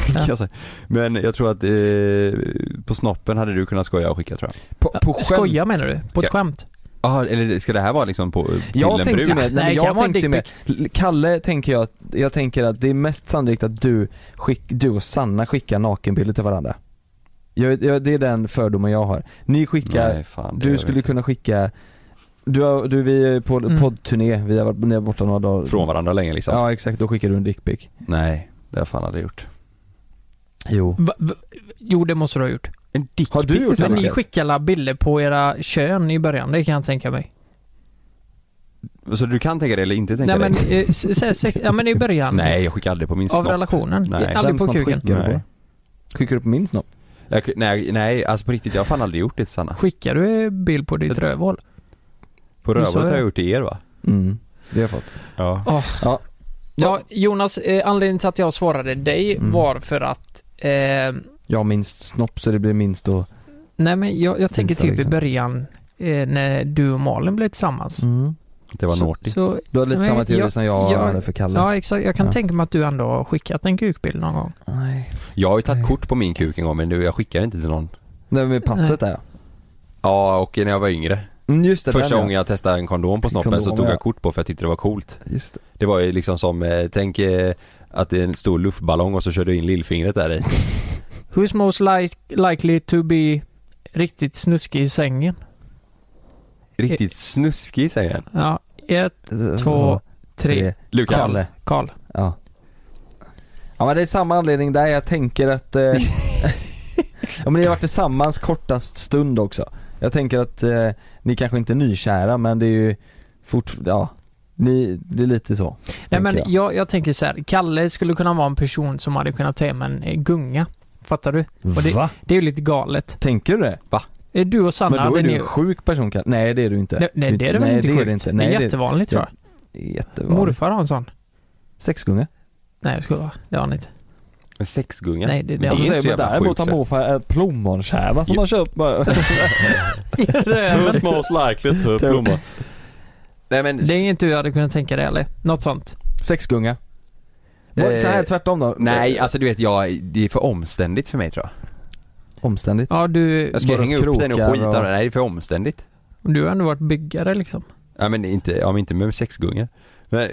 A: kan
C: Ja.
A: jag säga. Men jag tror att eh, på snoppen hade du kunnat skoja och skicka tror jag.
B: På, på
C: Ja,
B: skämt.
C: Skoja menar du? På ett
A: Ja.
C: skämt?
A: Jaha, eller ska det här vara liksom på, till
B: Jag
A: en
B: tänkte ju
A: brud?
B: mer, nej,
C: Nej,
B: men
C: det
B: jag
C: kan vara en
B: tänkte ju mer, Kalle tänker jag, jag tänker att det är mest sannolikt att du, skick, du och Sanna skickar nakenbilder till varandra. Jag, vet- jag, det är den fördomen jag har. Ni skickar,
A: Nej, fan, det gör
B: du
A: vi
B: skulle
A: inte.
B: kunna skicka, du, har, du vi är på
C: Mm.
B: poddturné, vi har varit ni har varit borta några dagar.
A: Från varandra länge liksom?
B: Ja exakt, då skickar du en dickpic.
A: Nej, det har jag fan aldrig gjort.
B: Jo.
C: Va, va, jo, det måste du ha gjort.
A: En dick
B: Har du gjort det?
C: Men ni
B: Mattias?
C: skickade alla bilder på era kön i början, det kan jag tänka mig.
A: Så du kan tänka det eller inte tänka
C: Nej men,
A: det?
C: eh, s- s- sex, ja men i början.
A: Nej, jag skickar aldrig på min
C: Av
A: snopp.
C: relationen.
A: Nej.
C: Aldrig
B: Vem
C: på
B: snopp
C: kuken.
B: Skickar du,
A: Nej.
B: på? skickar du på min snopp?
A: Jag, nej, nej, alltså på riktigt, jag har fan aldrig gjort det till Sanna.
C: Skickar du bild på ditt rövhål?
A: På
C: Nu sa
A: rövhålet har
C: jag.
A: jag gjort det till er va?
B: Mm, det har jag fått.
A: Ja.
B: Ja.
C: Ja, Jonas, eh, anledningen till att jag svarade dig
B: Mm.
C: var för att eh,
B: Jag har minst snopp så det blir minst då.
C: Nej men jag, jag tänker
B: så
C: typ i
B: liksom. Mm.
C: början eh, när du och Malin blev tillsammans.
A: Det var
C: Så-
A: naughty.
C: Så,
B: Du har lite
C: Mm. Nej,
B: samma teori
C: jag-
B: som jag,
C: jag-
B: hade för Kalle.
C: ja exakt, jag kan
B: Ja.
C: tänka mig att du ändå har skickat en kukbild någon gång.
B: Nej.
A: Jag har ju tagit kort på min kuk en gång men nu, jag skickar inte till någon.
B: Nej men passet där ja.
A: Ja, och när jag var yngre.
B: Mm, just det,
A: Första
B: den,
A: gången
B: ja.
A: jag testade en kondom på snoppen så
B: Kondom,
A: tog
B: ja.
A: jag kort på för jag tyckte det var coolt.
B: Just det.
A: Det var ju liksom som, eh, tänk eh, att det är en stor luftballong och så körde du in lillfingret där i.
C: Who's most like, likely to be riktigt snuskig i sängen?
A: Riktigt snuskig säger jag.
C: Ja, ett, två, tre.
A: Lukas.
B: Kalle.
C: Karl.
B: Ja. Ja men det är samma anledning där jag tänker att... Eh, ja men ni har varit tillsammans kortast stund också. Jag tänker att eh, ni kanske inte är nykära men det är ju fort... Ja. Ni, det är lite så.
C: Nej men
B: tänker jag.
C: jag, jag tänker så här, Kalle skulle kunna vara en person som hade kunnat ta hem en eh, gunga. Fattar du? och
B: Va?
C: Det är ju lite galet.
B: Tänker du det?
C: Eh, Du och Sanna
B: Men då
C: hade
B: är du
C: ni
B: en sjuk person Kalle. Nej det är du inte.
C: Nej, nej det är det väl
B: nej,
C: inte
B: det
C: sjukt?
B: Är det, inte. Nej,
C: det är
B: det
C: jättevanligt tror jag.
B: Jättevanligt.
C: Morfar har en sån.
B: Sexgunga.
C: Nej det skulle vara. Det har han inte.
A: En sexgunga.
C: Nej det, det
B: Och
C: har
B: så
A: inte
B: säger
A: så
B: man
A: jävla
B: Alltså, däremot
A: sjukt,
B: har
A: det.
B: morfar en plommonskärva som
A: Ja.
B: han köpt bara.
C: han inte.
A: most likely to
B: plomma.
A: Nej men,
C: Det är inget du hade kunnat tänka dig eller? Något sånt.
B: Sexgunga. Var- Så här
A: Eh,
B: tvärtom då?
A: nej alltså du vet jag, det är för omständigt för mig tror jag.
B: Omständigt.
C: Ja du,
A: Jag ska ju
B: Bara
A: hänga upp den och
B: krokar
A: skita
B: och-
A: och... nej det är för omständigt.
C: du har ändå varit byggare liksom.
A: Ja men inte, ja, men inte med sexgungor. Men,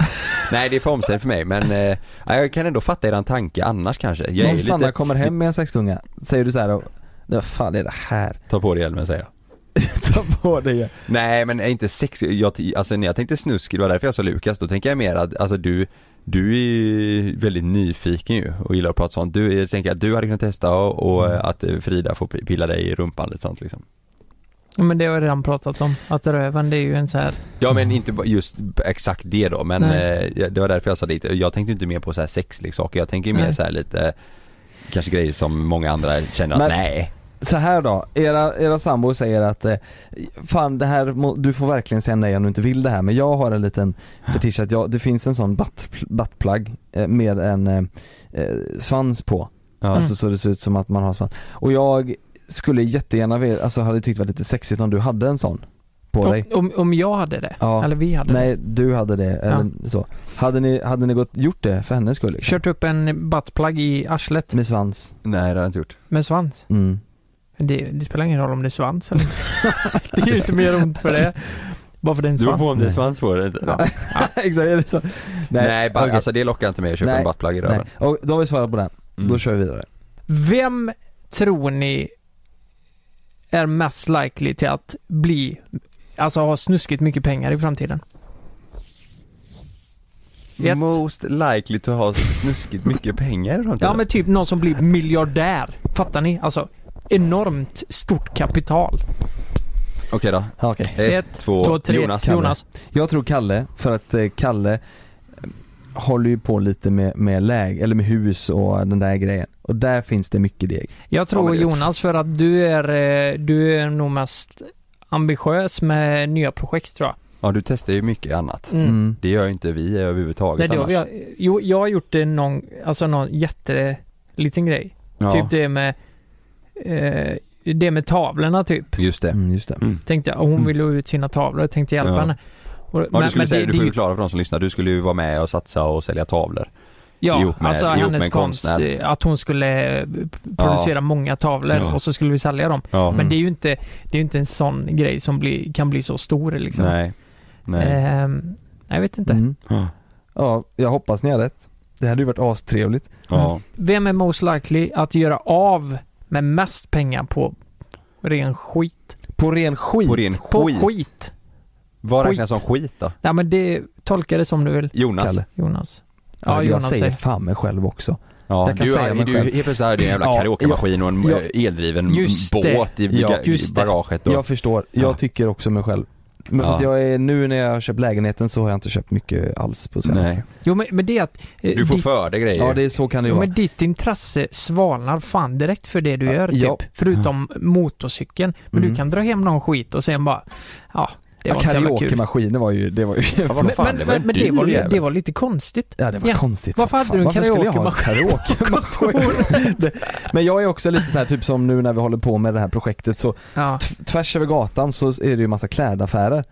A: nej det är för omständigt för mig men, eh, ja, jag kan ändå fatta eran tanke annars kanske. Jag är
B: Om Sanna
A: lite,
B: kommer hem med en sexgunga, säger du så här då? Vad fan är det här?
A: ta på dig hjälmen säger jag.
B: Ta på dig.
A: Nej men är inte sex, jag, alltså när jag tänkte snusk, det var därför jag sa Lukas, då tänker jag mer att, alltså du du är ju väldigt nyfiken ju och gillar att prata sånt. Du, jag tänker att du hade kunnat testa och, och eh, att eh, Frida får p- pilla dig i rumpan lite sånt liksom.
C: Ja, men det har jag redan pratat om. Att röven det är ju en så här.
A: Ja men inte ba- just b- exakt det då men
C: Nej.
A: eh, det var därför jag sa det. Jag tänkte inte mer på så här sexleksaker, jag tänker ju mer
C: Nej.
A: så här lite Kanske grejer som många andra känner att
B: Men-
A: nej.
B: Så här då, era, era sambo säger att eh, Fan det här, må- du får verkligen säga nej om du inte vill det här men jag har en liten fetisch att jag, det finns en sån butt, buttplug eh, med en eh, eh, svans på
A: Ja.
B: Alltså så det ser ut som att man har svans. Och jag skulle jättegärna vilja, alltså hade tyckt det var lite sexigt om du hade en sån på dig.
C: Om, om, om jag hade det.
B: Ja.
C: Eller vi hade
B: Nej, du hade det eller så. Hade ni, hade ni gått, gjort det för hennes skull?
C: det.
B: Liksom?
C: Kört upp en buttplug i arslet
B: Med svans?
A: Nej det har jag inte gjort.
C: med svans.
B: Mm.
C: Det, det spelar ingen roll om det är svans eller inte. Det är ju inte mer ont för det. Bara för den
A: Du var
C: svans.
A: på om det är
B: Nej.
A: svans på dig. Nej,
B: Exakt, är det så? Nej,
A: nej bara,
B: okej.
A: alltså det lockar inte mig att köpa
B: Nej.
A: en buttplug i
B: Nej.
A: röven.
B: Och då har vi svarat på den.
A: Mm.
B: Då kör vi vidare.
C: Vem tror ni är mest likely till att bli, alltså ha snuskigt mycket pengar i framtiden? Ett.
A: Most likely to ha snuskigt mycket pengar i framtiden.
C: Ja men typ någon som blir miljardär. Fattar ni? Alltså enormt stort kapital.
A: Okej då.
B: Ja, Okej.
A: Ett, två,
C: tre.
A: Jonas.
C: Jonas.
B: Jag tror Kalle, för att eh, Kalle eh, håller ju på lite med, med läge, eller med hus och den där grejen. Och där finns det mycket deg.
C: Jag tror
A: men det-
C: Jonas för att du är, eh, du är nog mest ambitiös med nya projekt tror jag.
A: Ja du testar ju mycket annat.
C: Mm.
B: Mm.
A: Det gör ju inte vi överhuvudtaget
C: Nej, det har
A: annars.
C: vi, jo, jag har gjort det någon, alltså någon jätteliten grej.
A: Ja,
C: Typ det med eh, Det med tavlorna typ
A: just det.
B: Mm, just det.
C: Tänkte jag, och hon ville ha ut sina tavlor, jag tänkte hjälpa
A: Mm. Ja.
C: henne Och,
A: Ja, du skulle säga, du
C: är
A: får
C: ju-
A: förklara för de som lyssnar, du skulle ju vara med och satsa och sälja tavlor.
C: Ja,
A: ihop med-
C: alltså
A: ihop med
C: hennes
A: en
C: konst,
A: konstnär.
C: eh, att hon skulle eh, producera många tavlor
A: Ja. Mm.
C: och så skulle vi sälja dem.
A: Ja,
C: Men det är ju inte, det är ju inte en sån grej som blir, kan bli så stor liksom.
A: nej. Nej.
C: Ehm, jag vet inte.
B: Mm.
A: Ja.
B: Ja, jag hoppas ni har rätt. Det hade ju varit astrevligt.
A: Ja.
C: Vem är most likely att göra av med mest pengar på ren skit?
B: På ren skit.
A: På ren skit.
C: På skit?
A: Vad
C: Skit.
A: räknas som skit då?
C: Nej men det, tolka det som du vill
A: Jonas?
B: Kalle.
C: Jonas.
B: Ja,
C: Ja,
B: jag
C: Jonas
B: säger
C: säger.
B: fan mig själv också.
A: Ja,
B: Jag kan
A: du,
B: säga mig
A: du,
B: själv.
A: helt plötsligt är det en jävla
B: Ja,
A: karaokemaskin och en
B: ja.
A: eh, eldriven
C: Just det.
A: båt i
B: Ja,
A: ja,
C: just det.
A: bagaget. Och,
B: Jag förstår, jag
A: Ja.
B: tycker också mig själv. Men
A: Ja.
B: fast jag är, nu när jag har köpt lägenheten så har jag inte köpt mycket alls på senaste.
A: nej.
C: Jo men, men det är att... eh,
A: Du får
C: ditt,
A: för dig grejer.
B: Ja, det är, så kan det ju
C: jo,
B: vara.
C: men ditt intresse svalnar fan direkt för det du gör typ.
B: ja.
C: Förutom motorcykeln. Men
B: Mm.
C: du kan dra hem någon skit och sen bara... Ja, det
B: Ja,
C: var inte så jävla kul.
B: Karaokemaskinen var ju, det var ju
A: vad
C: Men,
A: fan,
C: men,
A: det
C: det,
A: var
C: var
A: en
C: men det,
A: dyr
C: var, li-
A: jävel.
C: det var lite konstigt.
B: Ja det var
C: Ja.
B: konstigt
C: Varför
B: som
C: hade
B: fan.
C: du en
B: Varför skulle jag ha en karaokemaskin? Det- Men jag är också lite så här typ som nu när vi håller på med det här projektet så
C: Ja.
B: t- tvärs över gatan så är det ju massa klädaffärer.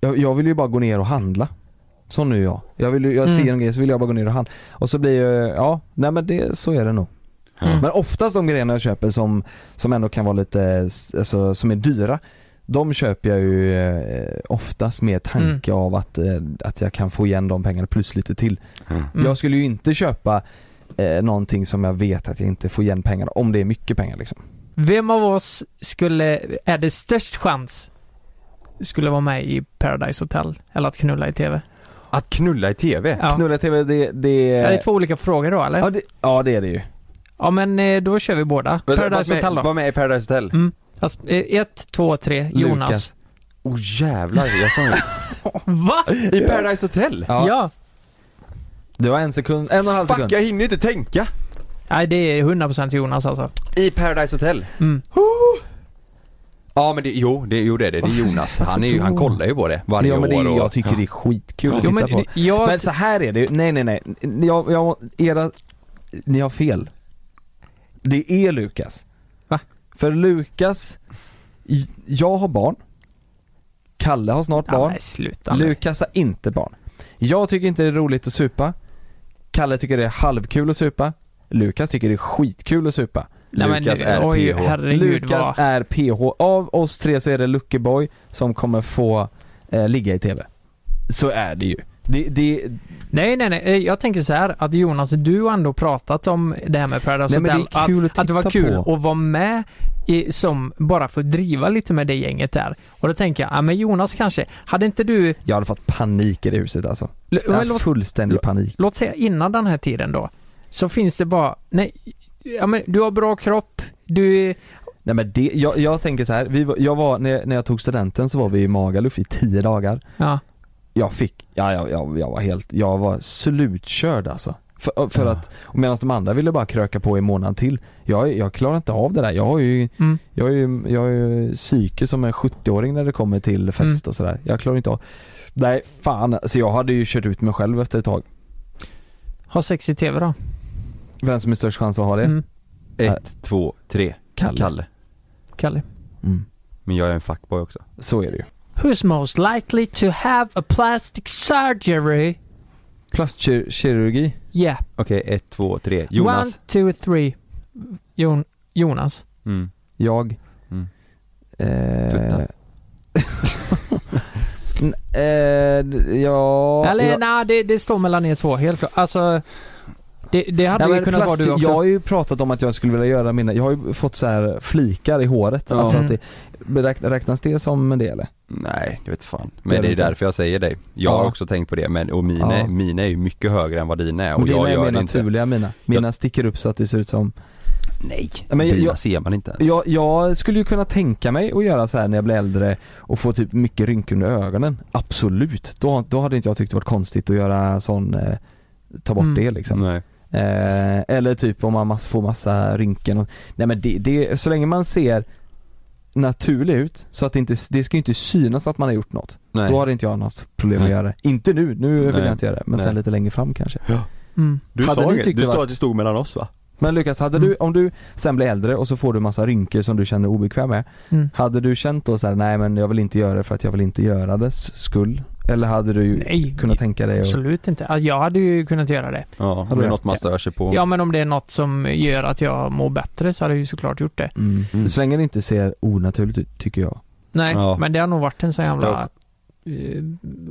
B: Jag, jag vill ju bara gå ner och handla. Så nu är jag. Jag, vill ju, jag
C: Mm.
B: ser en grej så vill jag bara gå ner och handla. Och så blir jag, ja, nej men det, så är det nog.
C: Mm.
B: Men oftast de grejerna jag köper som, som ändå kan vara lite, alltså, som är dyra de köper jag ju eh, oftast med tanke
C: Mm.
B: av att, eh, att jag kan få igen de pengarna plus lite till.
A: Mm.
C: Mm.
B: Jag skulle ju inte köpa eh, någonting som jag vet att jag inte får igen pengarna om det är mycket pengar liksom.
C: Vem av oss skulle, är det störst chans skulle vara med i Paradise Hotel? Eller att knulla i TV?
A: Att knulla i TV?
C: Ja.
B: Knulla TV, det, det...
C: Är det två olika frågor då eller?
B: ja, det, ja det är det ju.
C: Ja men eh, då kör vi båda.
A: Vänta,
C: Paradise
A: var med,
C: Hotel då.
A: Var med i Paradise Hotel.
C: Mm. Alltså, eh, ett, två, tre, Jonas.
B: Lukas.
A: Åh oh, jävlar, jag sa det.
C: Va?
A: I Paradise Hotel?
C: Ja.
B: Ja. Det var en sekund, en och en halv
A: Fuck,
B: sekund.
A: jag hinner inte tänka.
C: Nej det är 100% Jonas alltså.
A: I Paradise Hotel?
C: Mm.
A: Ja men det, jo, det, jo det är det. Det är Jonas. Han, är ju, han kollar ju på det varje
B: ja, men det,
A: år.
B: är-
A: Och,
B: jag tycker det är skitkul att
C: Jo,
B: titta
C: men,
B: på.
C: det- jag,
B: Men så här är det ju, nej nej nej, jag, jag, era, ni har fel. Det är Lukas.
C: Va?
B: För Lukas, j- jag har barn. Kalle har snart
C: ja,
B: barn.
C: nej, sluta nu.
B: Lukas har inte barn. Jag tycker inte det är roligt att supa. Kalle tycker det är halvkul att supa. Lukas tycker det är skitkul att supa.
C: Nej, men,
A: Lukas är
C: oj,
A: PH.
C: herregud
B: Lukas
C: vad...
B: är PH. Av oss tre så är det Luckeboy som kommer få eh, ligga i TV. Så är det ju. Det, det,
C: Nej, nej, nej. Eh, Jag tänker så här att Jonas, du har ändå pratat om det här med Paradise
B: Nej, men det är
C: Hotel. att,
B: kul att
C: det var
B: titta
C: kul
B: på.
C: att vara med i, som bara för att driva lite med det gänget där. Och då tänker jag, ja men Jonas kanske, hade inte du,
B: jag hade fått panik i det huset alltså.
C: l-
B: Jag
C: men
B: hade
C: låt,
B: fullständig panik.
C: låt säga innan den här tiden då, så finns det bara, nej, ja men du har bra kropp, du är,
B: Nej men det, jag, jag tänker så här. Vi, var- jag var, när, jag- när jag tog studenten så var vi i Magaluf i tio dagar.
C: ja.
B: jag fick, ja jag, jag, jag var helt, jag var slutkörd alltså. För, för
C: Ah.
A: Ja.
B: att, medan de andra ville bara kröka på i en månad till. Jag, jag klarar inte av det där. Jag har ju,
C: Mm.
B: jag har ju, jag har ju psyke som en 70-åring när det kommer till
C: Mm.
B: fest och sådär. Jag klarar inte av. Nej fan, så jag hade ju kört ut mig själv efter ett tag.
C: Har sex i TV då?
B: Vem som är störst chans att ha det?
C: Mm.
A: Ett, två, tre.
B: Kalle.
A: Kalle.
C: Kalle.
B: Mm.
A: Men jag är en fuckboy också.
B: Så är det ju.
C: Who's most likely to have a plastic surgery?
B: Plastkirurgi.
C: Yeah.
A: Okej, ett, två, tre. Jonas.
C: One, two, three. Jon, Jonas.
A: Mm.
B: Jag.
A: Mm.
B: Eh,
A: Tuttar.
B: N- eh, ja...
C: Eller
B: jag-
C: nej, det, det står mellan er två helt klart. Alltså, det, det hade
B: Nej,
C: ju
B: men
C: kunnat vara
B: plast-
C: du också.
B: Jag har ju pratat om att jag skulle vilja göra mina, jag har ju fått så här flikar i håret.
A: Ja.
B: Alltså att
C: Mm.
B: det, beräk- räknas det som det eller?
A: Nej, det vet fan.
B: Gör
A: Men
B: det
A: det är
B: inte.
A: därför jag säger dig. Jag har
B: Ja.
A: också tänkt på det, men och mina,
B: Ja.
A: mina är ju mycket högre än vad dina är och
B: Men dina
A: jag
B: är
A: gör
B: mer
A: det inte.
B: naturliga mina. Mina sticker upp så att det ser ut som
A: Nej,
B: Ja, men
A: dina
B: jag-
A: ser man inte ens.
B: jag, jag skulle ju kunna tänka mig att göra så här när jag blir äldre och få typ mycket rynkor under ögonen. Absolut. Då, då hade inte jag tyckt det varit konstigt att göra sån, eh, ta bort
C: Mm.
B: det liksom.
A: Nej.
B: Eh, eller typ om man mass- får massa rynken och, Nej men det, det, så länge man ser naturlig ut så att det inte, det ska ju inte synas att man har gjort något.
A: Nej.
B: Då hade inte jag något problem att
A: Nej.
B: göra det. Inte nu, nu vill
A: Nej.
B: jag inte göra det. Men
A: Nej.
B: sen lite längre fram kanske.
C: Mm.
A: Du
B: Hade
A: sa,
B: ni
A: inget-
B: tyckt
A: du
B: det
A: sa
B: var-
A: att det stod mellan oss va?
B: Men Lukas, hade du,
C: Mm.
B: om du sen blir äldre och så får du massa rynkor som du känner dig obekväm med.
C: Mm.
B: Hade du känt då så här: nej men jag vill inte göra det för att jag vill inte göra det skull? Eller hade du
C: Nej,
B: kunnat tänka dig att...
C: absolut inte. Alltså, jag hade ju kunnat göra det.
A: Ja,
B: Hade
A: det är
B: du-
A: något man stör sig på.
C: Ja men om det är något som gör att jag mår bättre så hade jag ju såklart gjort det.
B: Mm.
A: Mm.
B: Så länge det inte ser onaturligt ut, tycker jag.
C: Nej,
A: Ja.
C: men det har nog varit en sån jävla eh,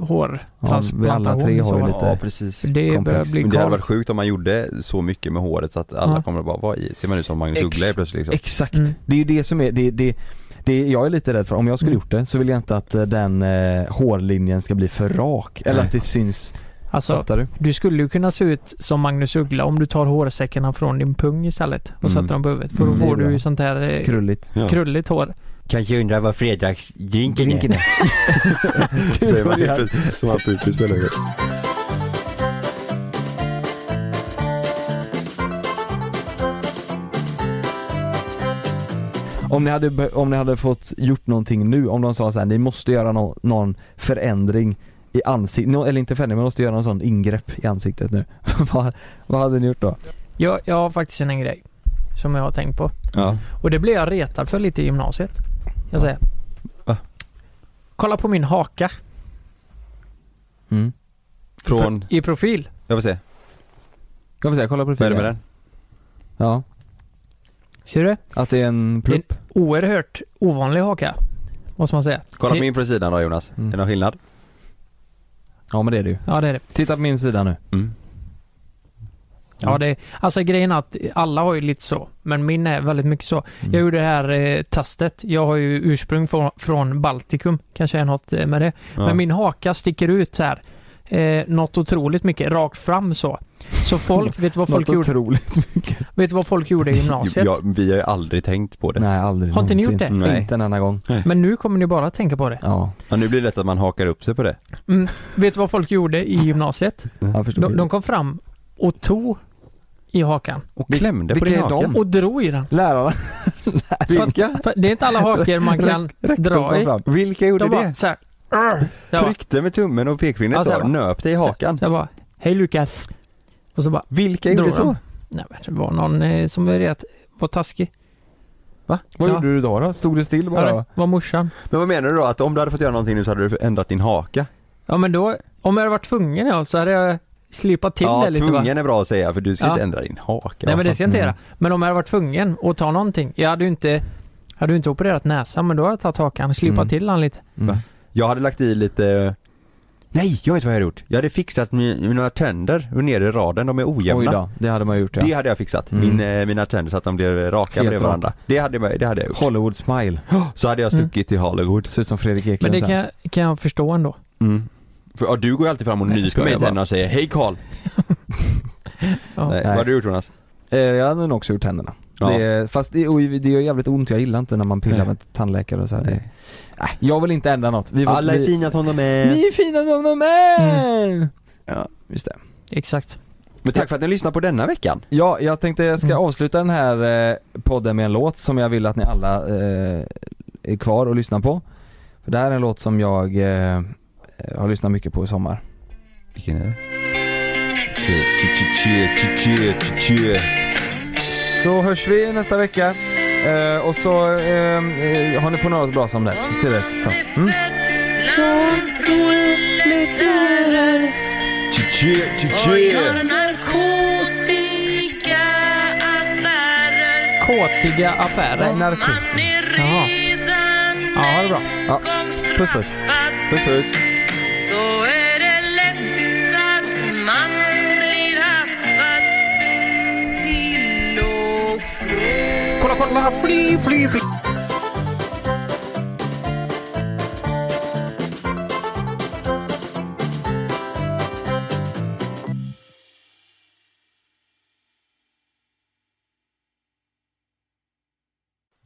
C: hårtransplantation.
B: vi alla tre
C: i
B: har
C: så
B: ju
C: fall.
B: lite
A: ja, precis.
C: Det börjar
B: komplex.
C: bli
A: Men det hade varit
C: galet.
A: sjukt om man gjorde så mycket med håret så att alla
C: Ja.
A: kommer att bara, vad i, ser man ut som Magnus
B: Ex-
A: Uggla helt plötsligt liksom.
B: Exakt.
C: Mm.
B: Det är ju det som är, det, det, det jag är lite rädd för. Om jag skulle
C: Mm.
B: gjort det så vill jag inte att eh, den eh, hårlinjen ska bli för rak. Eller
A: Nej.
B: att det syns.
C: Alltså,
B: Fattar du?
C: du skulle ju kunna se ut som Magnus Uggla om du tar hårsäckarna från din pung istället och
A: Mm.
C: sätter dem på huvudet. För då
B: Mm, det är
C: får du
B: bra.
C: ju sånt här eh,
B: Krulligt.
A: Ja.
C: krulligt hår.
A: Kanske undrar vad fredagsdrinken
B: Drinken är.
A: Säger man
B: börjar.
A: helt plötsligt, som man på utespelare gör.
B: Om ni, hade, be- om ni hade fått gjort någonting nu, om de sa så här, ni måste göra nå- någon förändring i ansiktet, eller inte förändring, men måste göra någon sån ingrepp i ansiktet nu. vad, vad hade ni gjort då?
C: Jag, jag har faktiskt en grej som jag har tänkt på.
A: Ja.
C: Och det blev jag retad för lite i gymnasiet. Jag säger.
A: Va?
C: Kolla på min haka
B: Mm.
A: Från,
C: i profil.
A: jag får se,
B: Jag får säga, kolla på
A: vad är det
B: profilen.
A: med den?
B: Ja,
C: Ser du?
B: att det är en plupp.
C: Oerhört ovanlig haka. Måste man säga.
A: Kolla på
C: Det-
A: min på sidan då Jonas,
B: Mm.
A: är det någon skillnad?
B: Ja men det är det ju.
C: Ja det är det.
B: Titta på min sida nu.
A: Mm.
B: Mm.
C: Ja, det, alltså grejen är att alla har ju lite så, men min är väldigt mycket så.
B: Mm.
C: Jag gjorde det här eh, testet. Jag har ju ursprung från, från Baltikum, kanske är något eh, med det.
A: Ja.
C: Men min haka sticker ut så här. Eh, något otroligt mycket, rakt fram så. Så folk, vet du vad folk,
B: Något
C: gjorde,
B: otroligt mycket.
C: vet du vad folk gjorde i gymnasiet?
A: Jo, jag- vi har ju aldrig tänkt på det.
B: Nej aldrig
C: Har inte ni
B: någonsin.
C: gjort det?
A: Nej.
B: Inte en enda gång.
C: Men nu kommer ni bara att tänka på det.
B: Ja,
A: Ja, nu blir det lätt att man hakar upp sig på det.
C: Mm, vet du vad folk gjorde i gymnasiet?
B: jag förstår.
C: De, de kom fram och tog i hakan
A: Och klämde på din
B: vilka är
A: haka.
B: de?
C: och drog i den.
B: Lärarna
A: Vilka?
C: För Det är inte alla hakor man kan dra
B: kom
C: i.
B: fram.
A: Vilka gjorde
C: De bara
A: det?
C: så här. "Arr!" Jag bara,
A: Tryckte med tummen och pekfingret
C: Ja, så här
A: och
C: bara.
A: nöp dig i hakan.
C: Jag bara, hej Lukas. Och så bara,
A: Vilka gjorde
C: Drog
A: så?
C: de. nej men det var någon eh, som var ret, var taskig.
A: Va?
B: Vad
C: Ja.
B: gjorde du då? då? Stod du still
C: Ja,
B: bara?
C: det var morsan.
A: Men vad menar du då? Att om du hade fått göra någonting nu så hade du ändrat din haka?
C: Ja men då, om jag hade varit tvungen ja, så hade jag slipat till
A: ja,
C: det lite va?
A: tvungen är bra att säga för du ska
C: Ja.
A: inte ändra din haka.
C: Nej men det
A: Vad
C: ska
A: fan?
C: jag inte göra. Men om jag hade varit tvungen att ta någonting. Jag hade ju inte, hade ju inte opererat näsan men då hade jag tagit hakan, slipat
B: Mm.
C: till han lite.
B: Mm.
A: Va? Jag hade lagt i lite... Nej, jag vet vad jag hade gjort. Jag hade fixat mi- mina tänder nere i raden, de är
B: Oj
A: ojämna.
B: då, det hade man gjort ja.
A: Det hade jag fixat,
B: Mm.
A: Min, eh, mina tänder så att de blev raka
B: Helt
A: bredvid
B: raka.
A: varandra. Det hade, jag- det hade jag gjort.
B: Hollywood smile.
A: Så hade jag
C: Mm.
A: stuckit till Hollywood.
B: Ser ut som Fredrik Eklund
C: Men det
B: sen.
C: kan jag, kan jag förstå ändå.
A: Mm. För, ja, du går ju alltid fram och
C: Nej, jag
A: nyper
C: skojar
A: mig i
C: bara.
A: tänderna och säger hej Karl.
C: Ja.
A: Nej,
B: Nej.
A: Vad har du gjort Jonas?
B: Eh, Jag hade nog också gjort tänderna.
A: Ja.
B: Det, fast det, och det gör jävligt ont, jag gillar inte när man pillar
A: Nej.
B: med tandläkare och så här.
A: Nej.
B: Nej, jag vill inte ändra något. Vi får- vi,
A: fina som de
B: Ni är fina som de är!
C: Mm.
A: Ja.
B: Just det.
C: Exakt.
A: Men tack för att ni lyssnade på denna veckan.
B: Ja, jag tänkte jag ska
C: Mm.
B: avsluta den här eh, podden med en låt som jag vill att ni alla eh, är kvar och lyssnar på. För det här är en låt som jag eh, har lyssnat mycket på i sommar.
A: Vilken är det? Tje-tje-tje-tje-tje-tje-tje.
B: Så hörs vi nästa vecka. Eh, och så eh, eh, har ni fått några bra som dess, till dess. Så. Mm.
A: Oh, Tje-tje-tje-tje.
C: Kåtiga affärer.
B: Narko.
C: Jaha. Ja, ha det bra.
B: Ja. Puss puss.
A: Puss puss.
E: Så är det lätt att man blir haffad till och från.
C: Kolla, kolla, fly, fly, fly.